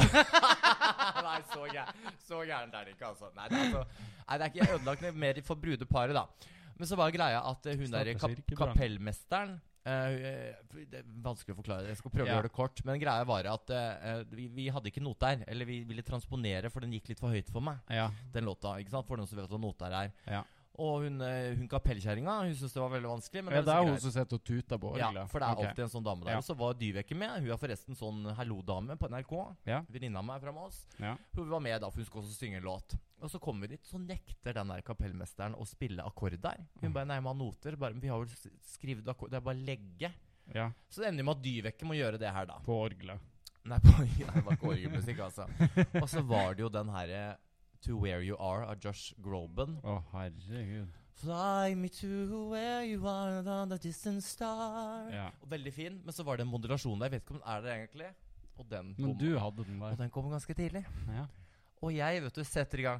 <laughs> Nei, så gæren, så gæren er det ikke, altså. Nei, det er, altså, nei, det er ikke jeg ødelagt det er mer for brudeparet, da. Men så var greia at eh, hun der Stakkars kap kirkebrann. kapellmesteren eh, eh, Det er vanskelig å forklare, jeg skal prøve å Ja. gjøre det kort. Men greia var at eh, eh, vi, vi hadde ikke noter. Eller vi ville transponere, for den gikk litt for høyt for meg. <laughs> Ja. Den låta, ikke sant? For noen som vet hva noter er. Ja. Og hun, eh, hun kapellkjerringa hun syntes det var veldig vanskelig. Men ja, det så er hun greit. som sitter og tuter på Ja, orgelet. for det er Ok. alltid en sånn dame der. Ja. Og så var Dyveke med. Hun er forresten sånn hallo-dame på NRK. Ja. Venninna meg fra Moss. Ja. Hun var med da, for hun skulle også synge en låt. Og så kommer vi dit, så nekter den der kapellmesteren å spille akkord der. Mm. Hun bare nei, man har noter. Bare, vi har jo s- skrevet akkord. Det er bare å legge. ja, Så det ender med at Dyveke må gjøre det her, da. på orgelet. Nei, <laughs> på, nei det var ikke orgelmusikk, altså. Og så var det jo den herre To Where You Are av Josh Groban. Å, herregud. Fly me to where you are on the distant star. Ja. Og Veldig fin, men så var det en modulasjon der. Jeg vet ikke om den er det egentlig. Og den Men kom, du hadde den og der. den kom ganske tidlig. Ja. Og jeg vet du, setter i gang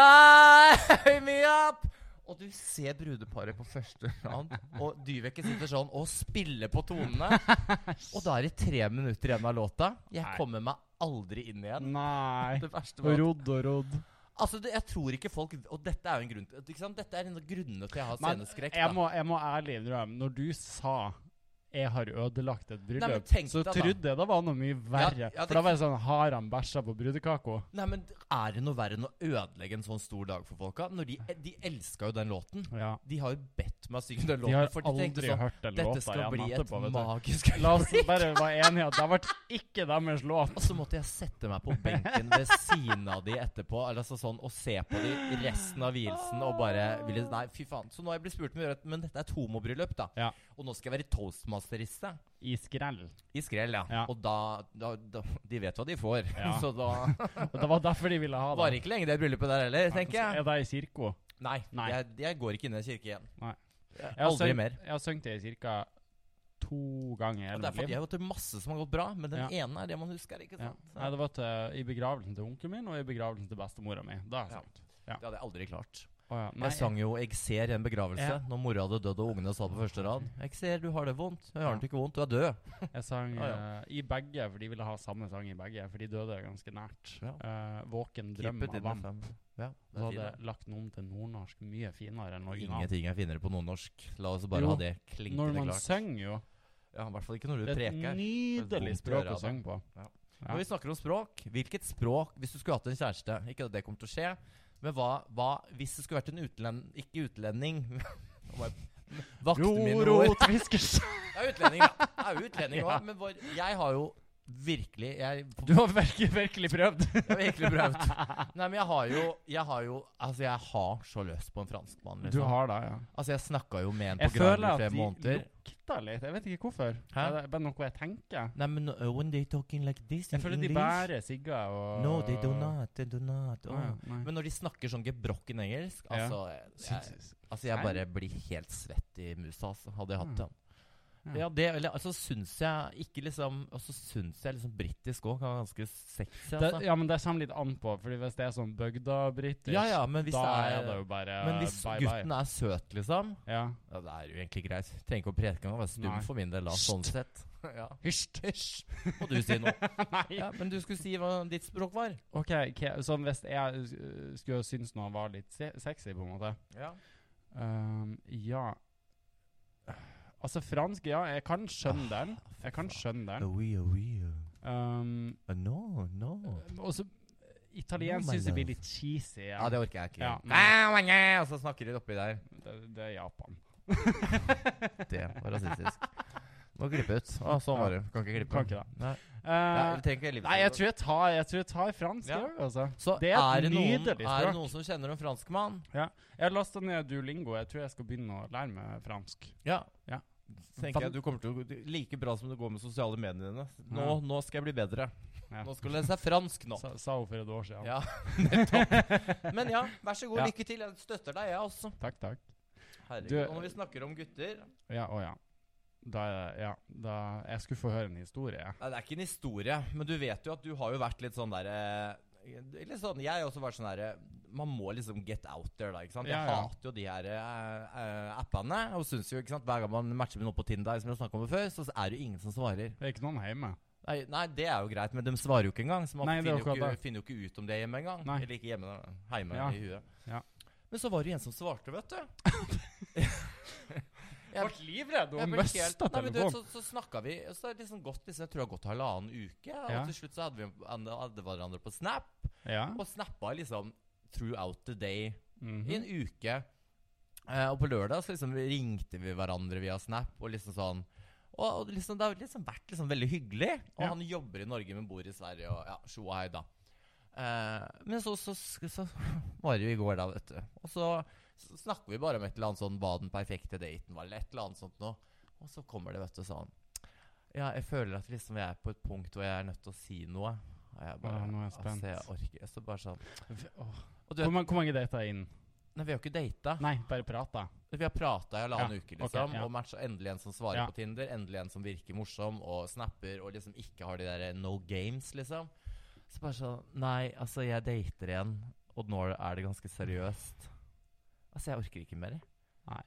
Fly <laughs> me up! Og du ser brudeparet på første rad, og Dyveke sitter sånn og spiller på <laughs> tonene. Og da er det tre minutter igjen av låta. Jeg Nei. kommer meg aldri inn igjen. Nei. Det verste Og var at- rodd og rodd. Altså, det, jeg tror ikke folk Og dette er jo en grunn til ikke sant? Dette er en av grunnene til jeg har Men sceneskrekk. da. jeg må, jeg må ærlig innrømme, når du sa 'jeg har ødelagt et Nei, men bryllup', tenk så deg da. trodde jeg det var noe mye verre. Ja, ja, det- for da var jeg sånn 'Har han bæsja på brudekaka?' Nei, men Er det noe verre enn å ødelegge en sånn stor dag for folka? Når De, de elska jo den låten. Ja. De har jo bedt meg å synge den De låten. har for de tenkte aldri sånn, hørt den Dette låta skal igjen bli et etterpå. vet du. <laughs> magisk La oss bare være enige at det ble ikke deres låt. <laughs> Og så måtte jeg sette meg på benken ved siden av de etterpå eller altså sånn, og se på de resten av vielsen og bare ville, Nei, fy faen. Så nå har jeg blitt spurt om å gjøre et Men dette er et homobryllup, da. Ja. Og nå skal jeg være toastmasteriste. I skrell. I skrell, ja. Ja. Og da, da, da De vet hva de får. Ja. <laughs> Så da <laughs> Og det var derfor de ville ha var det. det ikke lenge det bryllupet der heller, tenker jeg. Er det i kirka? Nei, Nei. Jeg, jeg går ikke inn i en kirke igjen. Nei. Jeg, Jeg har aldri sunget- mer. Jeg har sunget det i kirka to ganger i Og hele det er mitt fordi jeg liv. har gått til masse som har gått bra, men den Ja. ene er det man husker. ikke Ja. sant? Nei, det var til, i begravelsen til onkelen min og i begravelsen til bestemora mi. Det har jeg Ja. sagt. Det hadde jeg aldri klart. Å ja. Nei, jeg sang jo 'Jeg ser' i en begravelse Ja. når mora hadde dødd og ungene sa på første rad 'Jeg ser, du har det vondt'. 'Jeg har det ikke vondt, du er død'. Jeg sang Ah, Ja, ja. eh, i begge, for de ville ha samme sang i begge. For de døde ganske nært. Ja. Eh, våken drøm Keep it av in the vann. fam. Ja, Så hadde det er jeg lagt noen til nordnorsk mye finere enn noe fint. annet. Ingenting er finere på nordnorsk. La oss bare Jo, ha det klinkende Når man klart. synger jo. Ja, I hvert fall ikke når du Det er et preker. nydelig Det er vondt å språk gjøre å av det. synge på. ja. Når vi snakker om språk, hvilket språk Hvis du skulle hatt en kjæreste Ikke at det kommer til å skje, men hva, hva hvis det skulle vært en utlending Ikke utlending. <laughs> Nå må jeg- Vakte mine ord. Rorot, hviskers. <laughs> Jeg er utlending, da. Jeg er jo utlending også, Ja. Men hvor, jeg har jo virkelig Jeg Du har virkelig, virkelig prøvd. Jeg har virkelig prøvd. <laughs> Nei, men jeg har jo Jeg har jo Altså, jeg har så løst på en franskmann. Du Liksom. har det, ja. Altså, jeg snakka jo med en på Jeg føler Grand i at de flere måneder. lukter litt. Jeg vet ikke hvorfor. Hæ? Er Det er bare noe jeg tenker. Nei, men uh, when they talking like this in Jeg føler de English- bærer sigger og No, they do not. They do not. Å, Oh. ja, nei. Men når de snakker sånn gebrokken engelsk, Ja. altså jeg, Syns- altså jeg Nei. Mm. bare blir helt svett i musa, altså. Hadde jeg hatt Ja. den. Ja, det, eller, altså syns jeg ikke liksom Og så syns jeg liksom britisk òg kan være ganske sexy, det, altså. ja, men det kommer litt an på, Fordi hvis det er sånn bygda-british, Ja, ja, men hvis da det er er- det jo bare Men hvis bye gutten er søt, liksom bye. Ja. Ja, det er jo egentlig greit. Trenger ikke å preke engang. Være stum Nei. for min del, da. Sånn Hysj. sett. <laughs> Ja. Hysj! Må du <laughs> si noe. Nei. Ja, men du skulle si hva ditt språk var. OK, ok, sånn hvis jeg uh, skulle synes noe var litt se sexy, på en måte Ja. um, Ja Altså, fransk, ja. Jeg kan skjønne den. Ah, Jeg kan skjønne den. Oui, oui. Um, uh, No, no. og så Italiensk No, my syns jeg blir love. litt cheesy. eh, Ja, det orker jeg ikke. Ja, Ah, ah, ah, Og så snakker de oppi der. det, det er Japan. Det var rasistisk. Må klippe ut. Å, sånn var det. Kan ikke klippe. Kan ikke det. Nei, Uh, jeg tenker litt- altså. Nei, jeg tror jeg tar, jeg tror jeg tar fransk. Ja. jeg, altså. så det det er et er, det noen, er nydelig det språk. noen som kjenner en franskmann? Jeg har lasta ned Duolingo. Jeg tror jeg skal begynne å lære meg fransk. Ja. Ja. Tenker jeg du kommer til å gå- Like bra som det går med sosiale medier dine. Nå, Ja. nå skal jeg bli bedre. Ja. Nå skal du lære seg fransk nå. Sa, sa hun for et år siden. Ja, nettopp. Men ja, vær så god. Ja. Lykke til. Jeg støtter deg, jeg også. Takk, takk. Herregud. Du- og når vi snakker om gutter Nei, Ja, å ja. Da, er det- ja, da Jeg skulle få høre en historie. jeg. Det er ikke en historie, men du vet jo at du har jo vært litt sånn derre Litt sånn, Jeg har også vært sånn derre Man må liksom get out there, da. ikke sant? Jeg Ja, ja. hater jo de her eh, eh, appene. Og synes jo, ikke sant, Hver gang man matcher med noen på Tinder, som vi har snakket om det før, så er det jo ingen som svarer. Det er ikke noen hjemme. Nei, nei, det er jo greit, men de svarer jo ikke engang. Så man Nei, det er finner, jo akkurat ikke, det. finner jo ikke ut om det hjemme engang. Nei. Eller ikke hjemme, da. Heime Ja. i huet. Ja. Men så var det jo en som svarte, vet du. <laughs> Jeg ble livredd Jeg og ble helt- mista Nei, men du vet, telefonen. Så, så snakka vi, og så er det liksom gått liksom, Jeg tror det har gått halvannen uke. Ja. Og til slutt så hadde vi hadde hadde hverandre på Snap, Ja. og snappa liksom throughout the day mhm. i en uke. Eh, og på lørdag så liksom ringte vi hverandre via Snap. Og liksom sånn Og, og liksom, det har liksom vært liksom veldig hyggelig. Og Ja. han jobber i Norge, men bor i Sverige. Og ja, tjo og hei, da. Eh, men så, så, så, så var det jo i går, da, vet du. Og så, så snakker vi bare om et eller annet sånn hva den perfekte daten var, eller et eller annet sånt noe. Og så kommer det, vet du, sånn Ja, jeg føler at liksom jeg er på et punkt hvor jeg er nødt til å si noe. Og jeg bare Ja, nå er jeg spent. Altså, jeg orker Så bare sånn V- åh. Og du Hvor, vet, mange, hvor mange dater er inn? nei, vi har jo ikke data. Nei, bare prata. Vi har prata i halvannen uke, ok, liksom. ja. Og matcha endelig en som svarer Ja. på Tinder. Endelig en som virker morsom og snapper og liksom ikke har de der no games, liksom. Så bare sånn Nei, altså, jeg dater igjen, og nå er det ganske seriøst. Altså, jeg orker ikke mer. jeg. Nei.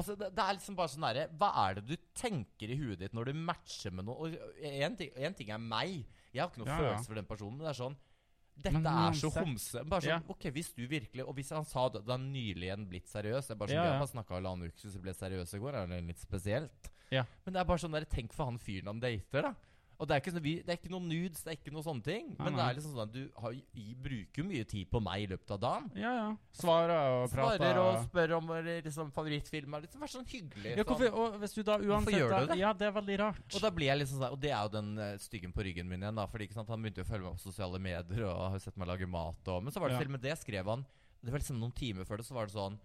Altså, det, det er liksom bare sånn derre Hva er det du tenker i huet ditt når du matcher med noe? Én ting, en ting er meg. Jeg har ikke noe Ja, ja. følelse for den personen, men det er sånn dette Men er så uansett- homse. Bare sånn, Ja. ok, Hvis du virkelig Og hvis han sa det, da er han nylig igjen blitt seriøs Jeg bare sånn, Ja, Vi ja. har bare snakka halvannen uke, så det ble seriøs i går. Er det litt spesielt? Ja. Men det er bare sånn der, tenk for han fyren han dater, da. Og det er ikke, sånn, vi, det er ikke noen nudes, det er ikke noen sånne ting. Nei, men det nei. er liksom sånn at du har, i, bruker jo mye tid på meg i løpet av dagen. Ja, ja. Svarer og prater. Svarer og spør om eller liksom, favorittfilmer. Liksom, vær sånn hyggelig. ja, sånn. hvorfor, og hvis du da Hvorfor uansett gjør du da- det? Ja, det er veldig rart. Og da blir jeg liksom sånn Og det er jo den eh, styggen på ryggen min igjen, da. Fordi ikke sant, han begynte jo å følge meg på sosiale medier og har jo sett meg lage mat og Men så var det Ja. selv med det skrev han Det var liksom noen timer før det, så var det sånn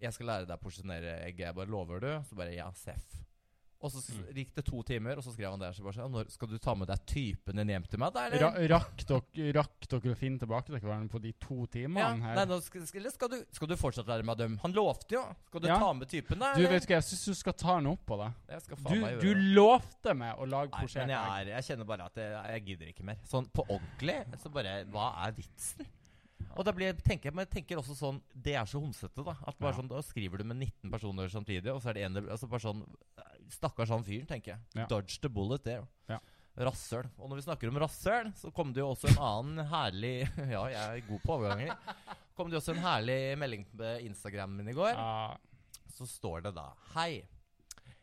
Jeg skal lære deg å porsjonere egg, jeg bare lover du? Så bare ja, seff. Og så s- Mm. gikk det to timer, og så skrev han der. Så bare sånn «Når- Skal du ta med deg typen din hjem til meg, da, Ra eh, eller? rakk, dere, rakk dere å finne tilbake til hverandre på de to Ja, timene her? nei, nå skal, skal, eller skal, du, skal du fortsatt lære meg å dømme? Han lovte jo! Skal du Ja. ta med typen, da? du vet ikke, jeg syns du skal ta den opp på deg. Jeg skal Du, faen meg gjøre du det. lovte meg å lage Nei, men prosjekt. jeg, er, jeg kjenner bare at jeg, jeg gidder ikke mer. Sånn på ordentlig. Så bare Hva er vitsen? Og da blir jeg, tenker jeg, men jeg tenker også sånn Det er så homsete, da. At bare Ja. sånn, Da skriver du med 19 personer samtidig, og så er det en altså bare sånn Stakkars han fyren, tenker jeg. Ja. Dodge the bullet, det. Ja. Rasshøl. Og når vi snakker om rasshøl, så kom det jo også en annen herlig <laughs> Ja, jeg er god på overganger. Kom det jo også en herlig melding på Instagram min i går Ja, så står det da Hei,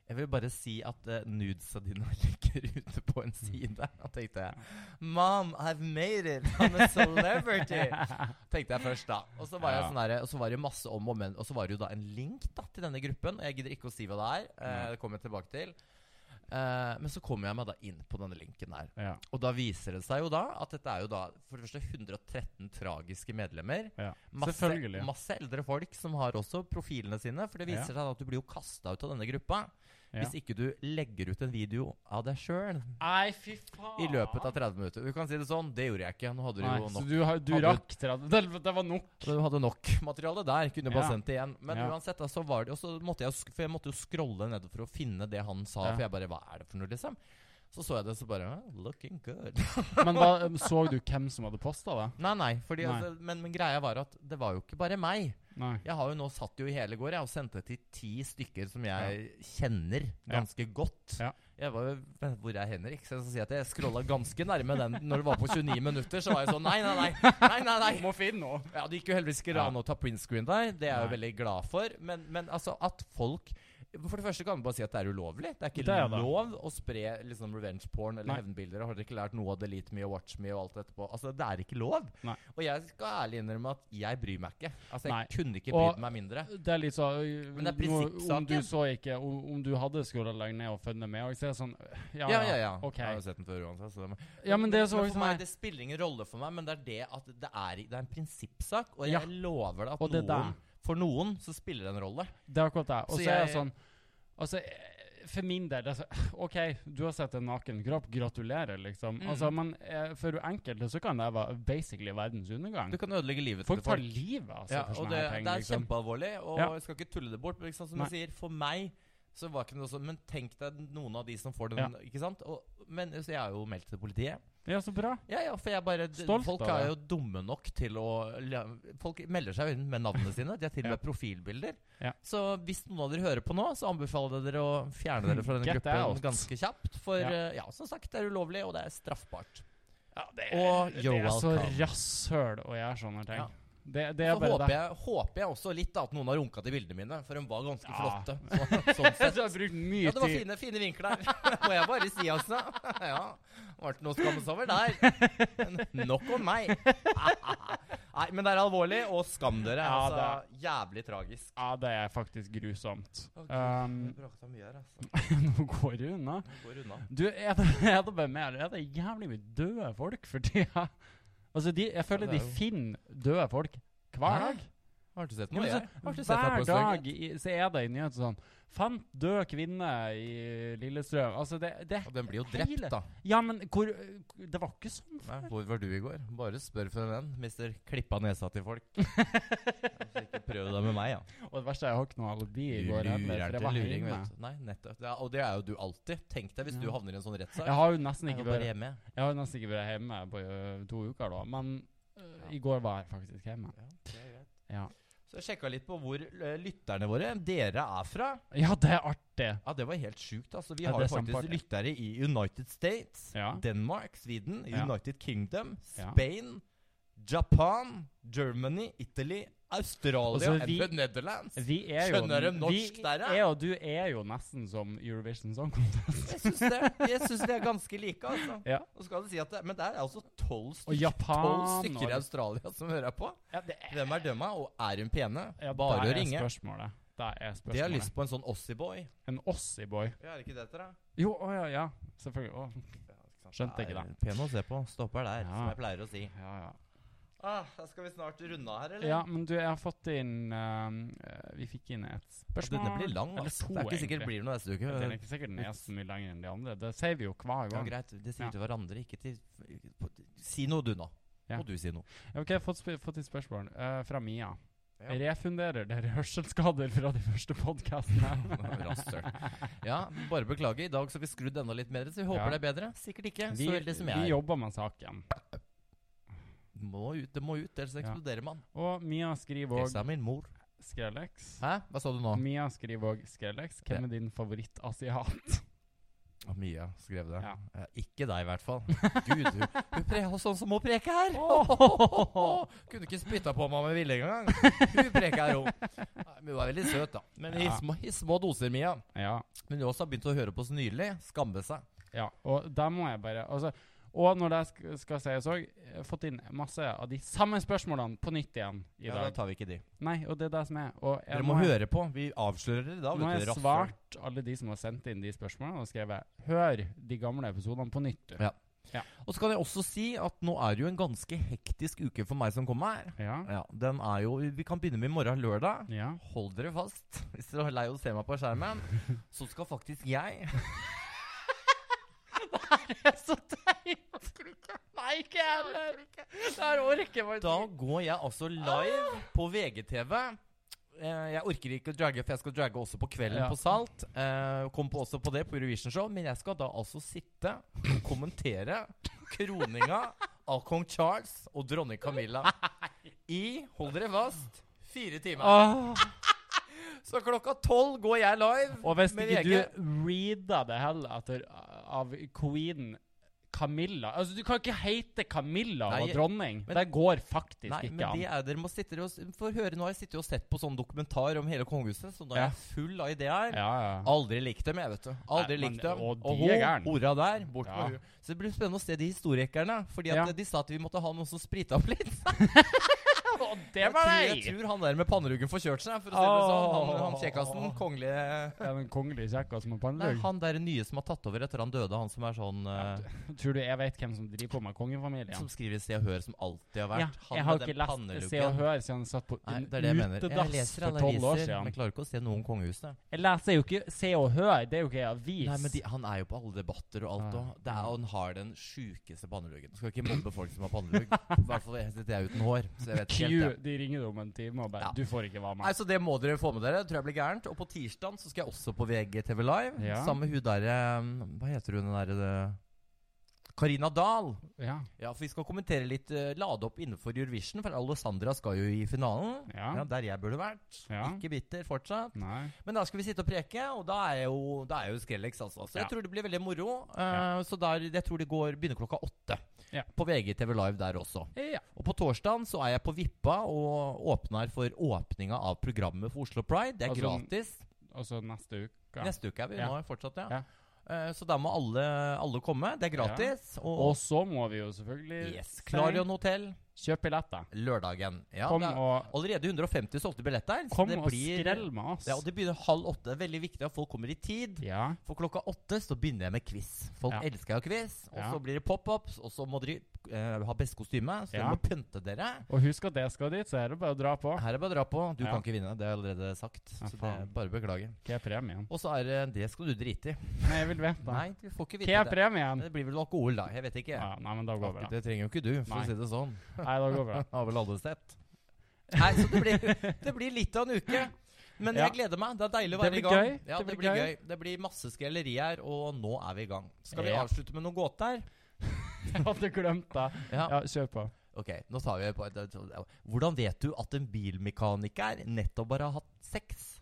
jeg vil bare si at eh, nudesa dine <laughs> ligger ute på Mm. en side. Da tenkte jeg Mom, I've made it! I'm a celebrity! <laughs> tenkte jeg først, da. Og så var, jeg Ja. sånn der, og så var det masse om og men, og så var det jo da en link da, til denne gruppen. Og jeg gidder ikke å si hva det er. eh, Nei. det kommer jeg tilbake til. Eh, men så kommer jeg meg da inn på denne linken der. Ja. Og da viser det seg jo da at dette er jo da for det første 113 tragiske medlemmer. ja. Masse, Selvfølgelig. masse eldre folk som har også profilene sine. For det Ja. viser seg da at du blir jo kasta ut av denne gruppa Ja. hvis ikke du legger ut en video av deg sjøl Nei, fy faen! i løpet av 30 minutter. Du kan si det sånn. Det gjorde jeg ikke. Nå hadde du Nei, jo så nok. du, har- du Hadde- rakk 30 det, det var nok. Så du hadde nok materiale der. Kunne bare Ja. sendt det igjen. Men Ja. uansett, da, så var det Og så måtte jeg, jo sk- for jeg måtte jo scrolle ned for å finne det han sa. Ja. For jeg bare Hva er det for noe, liksom? Så så jeg det, så bare «Ah, Looking good. Men da um, så du hvem som hadde posta det? Nei, nei. Fordi, Nei. Altså, men, men greia var at det var jo ikke bare meg. Nei. Jeg har jo nå satt jo i hele går jeg, og sendt det til ti stykker som jeg kjenner ganske godt. Ja. Jeg var jo men Hvor er Henrik? Så jeg skal si at jeg scrolla ganske nærme den når det var på 29 minutter. Så var jeg sånn Nei, nei, nei. nei, nei, nei. Må finne noe. Ja, Det gikk jo heldigvis ikke Ja. an å ta print screen der. Det er jeg jo Nei. veldig glad for. Men, men altså at folk For det første kan vi bare si at det er ulovlig. Det er ikke Det er det. lov å spre liksom revenge porn eller Nei. hevnbilder. Har dere ikke lært noe av Delete me og Watch me og alt etterpå? Altså, det er ikke lov. Nei. Og jeg skal ærlig innrømme at jeg bryr meg ikke. Altså, jeg Nei. kunne ikke Og- brydd meg mindre. Det er litt så øy, Men det er nå- Om prinsippsaken. du så ikke Om, om du hadde scrolla lenger ned og funnet med og så er det sånn Ja, Ja, ja, ja. Ok. Jeg har jo sett den før uansett. Så det må- Ja, men det er så for meg, sånn det spiller ingen rolle for meg, men det er det at det er, i- det er en prinsippsak. Og jeg Ja. lover deg at Og det der. noen, for noen så spiller det en rolle. Det er akkurat det. Og Så så er det jeg- sånn Altså, eh, for min del det er så, <sighs> OK, du har sett en naken kropp. Gratulerer, liksom. Mm. Altså, men eh, for enkelte så kan det være basically verdens undergang. Du kan ødelegge livet Folk til tar folk. livet av seg Ja, Altså, for og sånne det, her ting. det er liksom. kjempealvorlig, og Ja. jeg skal ikke tulle det bort. Men ikke sant, som Nei. du sier, for meg så var ikke det noe sånn Men tenk deg noen av de som får den, Ja. ikke sant? Og, men så jeg har jo meldt til politiet. Ja, så bra. Ja, ja, for jeg bare d- Stolt Folk av deg. er jo dumme nok til å la- Folk melder seg jo inn med navnene sine. De har <laughs> til og Ja. med profilbilder. Ja. Så hvis noen av dere hører på nå, så anbefaler jeg dere å fjerne <laughs> dere fra denne Get gruppen out. ganske kjapt. For Ja. eh, ja, som sagt, det er ulovlig, og det er straffbart. Ja, det, Og det you're er så welcome. rasshøl å gjøre sånne ting. Ja. Det, det Så er bare håper det. jeg, håper jeg også litt da, at noen har runka til bildene mine, for de var ganske Ja. <laughs> flotte. Så, sånn sett. du har brukt mye Ja, det var tid. fine, fine vinkler. <laughs> Må jeg bare si, altså. <laughs> Ja. Var det noe å skamme seg over der? Nok om meg. <laughs> Nei, men det er alvorlig, og skam dere. Ja, Altså, jævlig tragisk. Ja, det er faktisk grusomt. <laughs> Å, Gud, Um, jeg bråkte mye her, altså. nå går det unna. Jeg går unna. Du, er det, <laughs> er det bare mer Er det jævlig mye døde folk for tida? <laughs> Altså, de, jeg føler det de er jo- finner døde folk hver Hæ? dag. Har du sett Ja, noe, men jeg? så, Har du sett deg hver på dag dag. i, så er det i nyhetene sånn Fant død kvinne i Lillestrøm. Altså, det, det Og den blir jo drept, Hele- da. Ja, men hvor Det var ikke sånn. Nei, hvor var du i går? Bare spør for en venn. Mister klippa nesa til <laughs> folk. Altså, ikke prøv det med meg, ja. Og det verste er jeg har ikke noe alibi i Du går heller. For lurer jeg til var luring, hjemme. vet du. Nei, nettopp. Ja, og det er jo du alltid. Tenk deg hvis du Ja. havner i en sånn rettssak. Jeg har jo nesten Jeg ikke var bare vært hjemme, jeg. Jeg har nesten ikke vært hjemme på ø, to uker, da. Men ø, i går var jeg faktisk hjemme. Ja, det er greit. Ja, Så jeg sjekka litt på hvor eh, lytterne våre dere er fra. <laughs> ja det er artig! Ja, Det var helt sjukt. altså. Vi Ja, har det jo er faktisk kjempeartig. lyttere i United States, Ja. Denmark, Sweden, Ja. United Kingdom, Ja. Spain, Japan, Germany, Italy, Australia Altså, and vi- the Netherlands. Vi er jo, Skjønner de norsk vi der, ja? er, og du er jo nesten som Eurovision Song Contest. Jeg syns det, jeg syns det er ganske like, altså. <laughs> Ja. Nå skal jeg si at det, Men det er altså tolv Og stykker, tolv Japan stykker altså. i og Australia som hører på. ja, det er, Hvem er dømma, og er hun pene? ja, Bare der å ringe. Er spørsmålet. Der er De har spørsmålet. lyst på en sånn Ossie-boy. En Ossie-boy. Ja, er det ikke det dere? Jo, å ja, ja. Selvfølgelig. Å, Skjønte ikke det. Pen å se på. Stopper der, Ja. som jeg pleier å si. ja, ja. Ah, da skal vi snart runde av her, eller? ja, men du, jeg har fått inn ø, ø, Vi fikk inn et spørsmål. Denne blir lang, Eller altså. to, Det er ikke sikkert egentlig. det blir noe neste uke. Den er ikke sikkert den er så mye lenger enn de andre. Det sier vi jo hver Ja, gang. greit. Det sier Ja. til hverandre, ikke til Si noe, du, nå. Ja. Må du si noe. <laughs> Ok, jeg har fått, sp- fått et spørsmål eh, fra Mia. Ja. Refunderer dere <laughs> hørselsskader fra de første <laughs> podkastene? Rasshøl. Ja, bare beklager. I dag så har vi skrudd enda litt mer, så vi Ja. håper det er bedre. Sikkert ikke. vi, så heldig som vi jeg er. jobber med saken. Må ut, det må ut, ellers Ja. eksploderer man. Og Mia skriver òg Hilsa min mor. Skrellex. Hæ? Hva sa du nå? Mia skriver òg Skrellex. Hvem er din favorittasiat? <laughs> Ja, Mia skrev det. Ja. Eh, ikke deg, i hvert <laughs> fall. Gud, hun, hun pre sånn som hun preker her! <laughs> Kunne ikke spytta på meg med vilje engang. Hun preker her, hun. Nei, Men hun er veldig søt, da. Men i Ja. små, i små doser, Mia. Ja. Men hun også har begynt å høre på oss nylig. Skamme seg. ja. Og da må jeg bare Altså, Og når det sk- skal sies òg, fått inn masse av de samme spørsmålene på nytt igjen i Ja, da dag. tar vi ikke de. Nei, og det er det som er. Og jeg, Dere nå må har- høre på. Vi avslører det da. Nå har jeg Vet du, rasshøl. svart alle de som har sendt inn de spørsmålene, og skrevet 'Hør de gamle episodene på nytt', du. Ja. Og så kan jeg også si at nå er det jo en ganske hektisk uke for meg som kommer. Ja. Ja, den er jo Vi kan begynne med i morgen lørdag. ja. Hold dere fast hvis dere er lei av å se meg på skjermen. Så skal faktisk jeg <laughs> Så teit! Nei, ikke jeg heller. Det her orker jeg Da går jeg altså live på VGTV. Eh, Jeg orker ikke å dragge, for jeg skal dragge også på kvelden Ja. på Salt. Eh, Kom på også på det på Eurovision Show. Men jeg skal da altså sitte og kommentere kroninga av kong Charles og dronning <laughs> Camilla i Hold dere fast fire timer. Så klokka tolv går jeg live. Og hvis med ikke VG. du reader det heller etter av queen Camilla Altså, du kan ikke hete Camilla Nei, og dronning. men- det går faktisk Nei, men ikke det an. er dere må sitte og s- For høre, nå har jeg sittet og sett på sånn dokumentar om hele kongehuset, så nå Ja. er jeg full av ideer. Ja, ja. Aldri likt dem, jeg, vet du. Aldri Nei, men- likt dem. og de hun, er gæren. Hora der, bort Ja. med hun. Så det blir spennende å se de historikerne. Fordi at Ja. de sa at vi måtte ha noen som sprita opp litt. Og det jeg, var tror, jeg deg! tror han der med panneruggen forkjørte seg. For å si det sånn. Han, han Åh. kjekkasen. Kongelige Er den kongelige kjekka som har Nei, pannelugg? han der nye som har tatt over etter han døde, han som er sånn eh, Tror du jeg vet hvem som driver på med kongefamilien? Som skriver i Se og Hør, som alltid har vært. Ja, jeg har ikke lest Se og panneluggen. Hør siden jeg satt på Nei, en det er det jeg mener. Jeg utedass leser for tolv år analyser, men siden. jeg klarer ikke å se noe om kongehuset. Jeg leser jo ikke Se og Hør, det er jo ikke en avis. Nei, men de, Han er jo på alle debatter og Ja, alt òg. Det er Ah, ja. jo Han har den sjukeste panneluggen. Skal ikke mobbe folk som har pannelugg. I hvert fall sitter jeg uten hår. Så jeg vet ikke Q, helt det. de ringer deg om en time og bare Ja. 'Du får ikke være Nei, med'. Så det må dere få med dere. Tror jeg blir gærent. Og på tirsdag så skal jeg også på VGTV Live. Ja. Sammen med hun derre Hva heter hun den derre Karina Dahl. Ja. Ja, for vi skal kommentere litt eh, lade opp innenfor Eurovision, for Alessandra skal jo i finalen. Ja. Ja, Der jeg burde vært. Ja. Ikke bitter fortsatt. Nei. Men da skal vi sitte og preke, og da er jeg jo, da er jeg jo Skrellex, altså. Så Ja. jeg tror det blir veldig moro. eh, Ja. Så der, jeg tror det går, begynner klokka åtte. Ja. På VGTV Live der også. Ja. Og på torsdagen så er jeg på Vippa og åpner for åpninga av programmet for Oslo Pride. Det er Altså, gratis. Og så neste uke. Neste uke er vi Ja. nå fortsatt, ja. Ja. Eh, Så da må alle, alle komme. Det er gratis. Og Og så må vi jo selvfølgelig yes, Klarion hotell kjøp billetter. lørdagen. Ja, Kom det er og, allerede 150 solgte billetter. så kom det og blir- skrell med oss. Ja, og det begynner halv åtte. Veldig viktig at folk kommer i tid. Ja. For klokka åtte så begynner jeg med quiz. Folk Ja. elsker jo quiz. Og Ja. så blir det pop-ups, og så må dere eh, ha best kostyme. Så Ja. dere må pynte dere. Og husk at jeg skal dit, så er det bare å dra på. Her er bare å dra på. Du Ja. kan ikke vinne, det har jeg allerede sagt. Ja, så det faen. bare beklager. Hva er premien? Og så er det Det skal du drite i. Nei, jeg vil vite. Nei, du får ikke Hva vite er det. premien? Men Det blir vel alkohol, da. Jeg vet ikke. Ja, nei, men da går det bra. Det trenger jo ikke du, for Nei. å si det sånn. Nei, da går det <laughs> bra. Har vel alle sett. Nei, så det blir, det blir litt av en uke. Men Ja. jeg gleder meg. Det er deilig Det å være i blir gang. gøy. Ja, det, blir gøy. Det blir masse skrelleri her, og nå er vi i gang. Skal vi Ja. avslutte med noen gåter? Jeg hadde glemt det. Ja. Ja, kjør på. Ok, nå tar vi på Hvordan vet du at en bilmekaniker nettopp bare har hatt sex?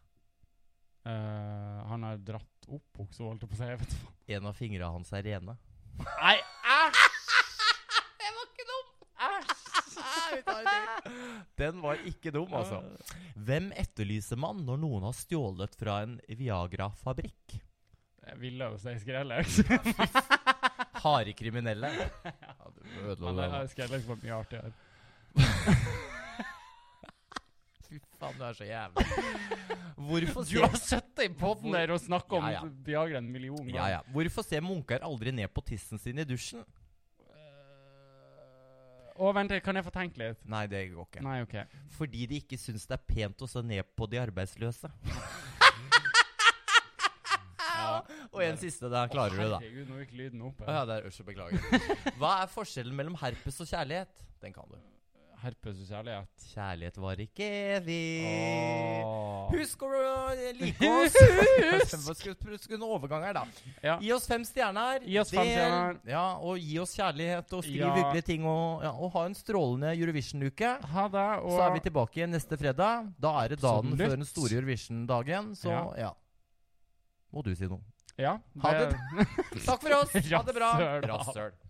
Eh, han har dratt opp buksa, holdt jeg på å si. Jeg vet faen. En av fingrene hans er rene. Nei, ah! æsj! Det var ikke dum! Ah, <laughs> Den var ikke dum, altså. Hvem etterlyser man når noen har stjålet fra en Viagra-fabrikk? Jeg ville jo si Skrellex. <laughs> Harde kriminelle. <laughs> Ja, du Men ødela det, det da. er Skrellex var mye artigere. Fy faen, du er så jævlig. Hvorfor Du har sittet i poden der og snakka om Ja, ja. Viagra en million ganger. ja, ja. Hvorfor ser munker aldri ned på tissen sin i dusjen? Å, vent, litt, kan jeg få tenke litt? Nei, det går ikke. Nei, OK. Fordi de ikke syns det er pent å se ned på de arbeidsløse. Ja. Og en siste der klarer du, da. Herregud, nå gikk lyden opp. Å ja, det er Usher, beklager. <laughs> Hva er forskjellen mellom herpes og kjærlighet? Den kan du. Herpes og kjærlighet. Kjærlighet var ikke evig. Åh. Husk å øh, <laughs> like oss! Husk! Husk en overgang her, da. Ja. Gi oss fem stjerner. Gi oss fem Del. stjerner. Ja, og gi oss kjærlighet, og skriv Ja. hyggelige ting, og, ja, og ha en strålende Eurovision-uke. Ha det, og Så er vi tilbake igjen neste fredag. Da er det dagen Absolutt. før den store Eurovision-dagen, så Ja. ja. Må du si noe. Ja, <laughs> Ha det. Takk for oss! Ha det bra! Rasshøl. Rasshøl.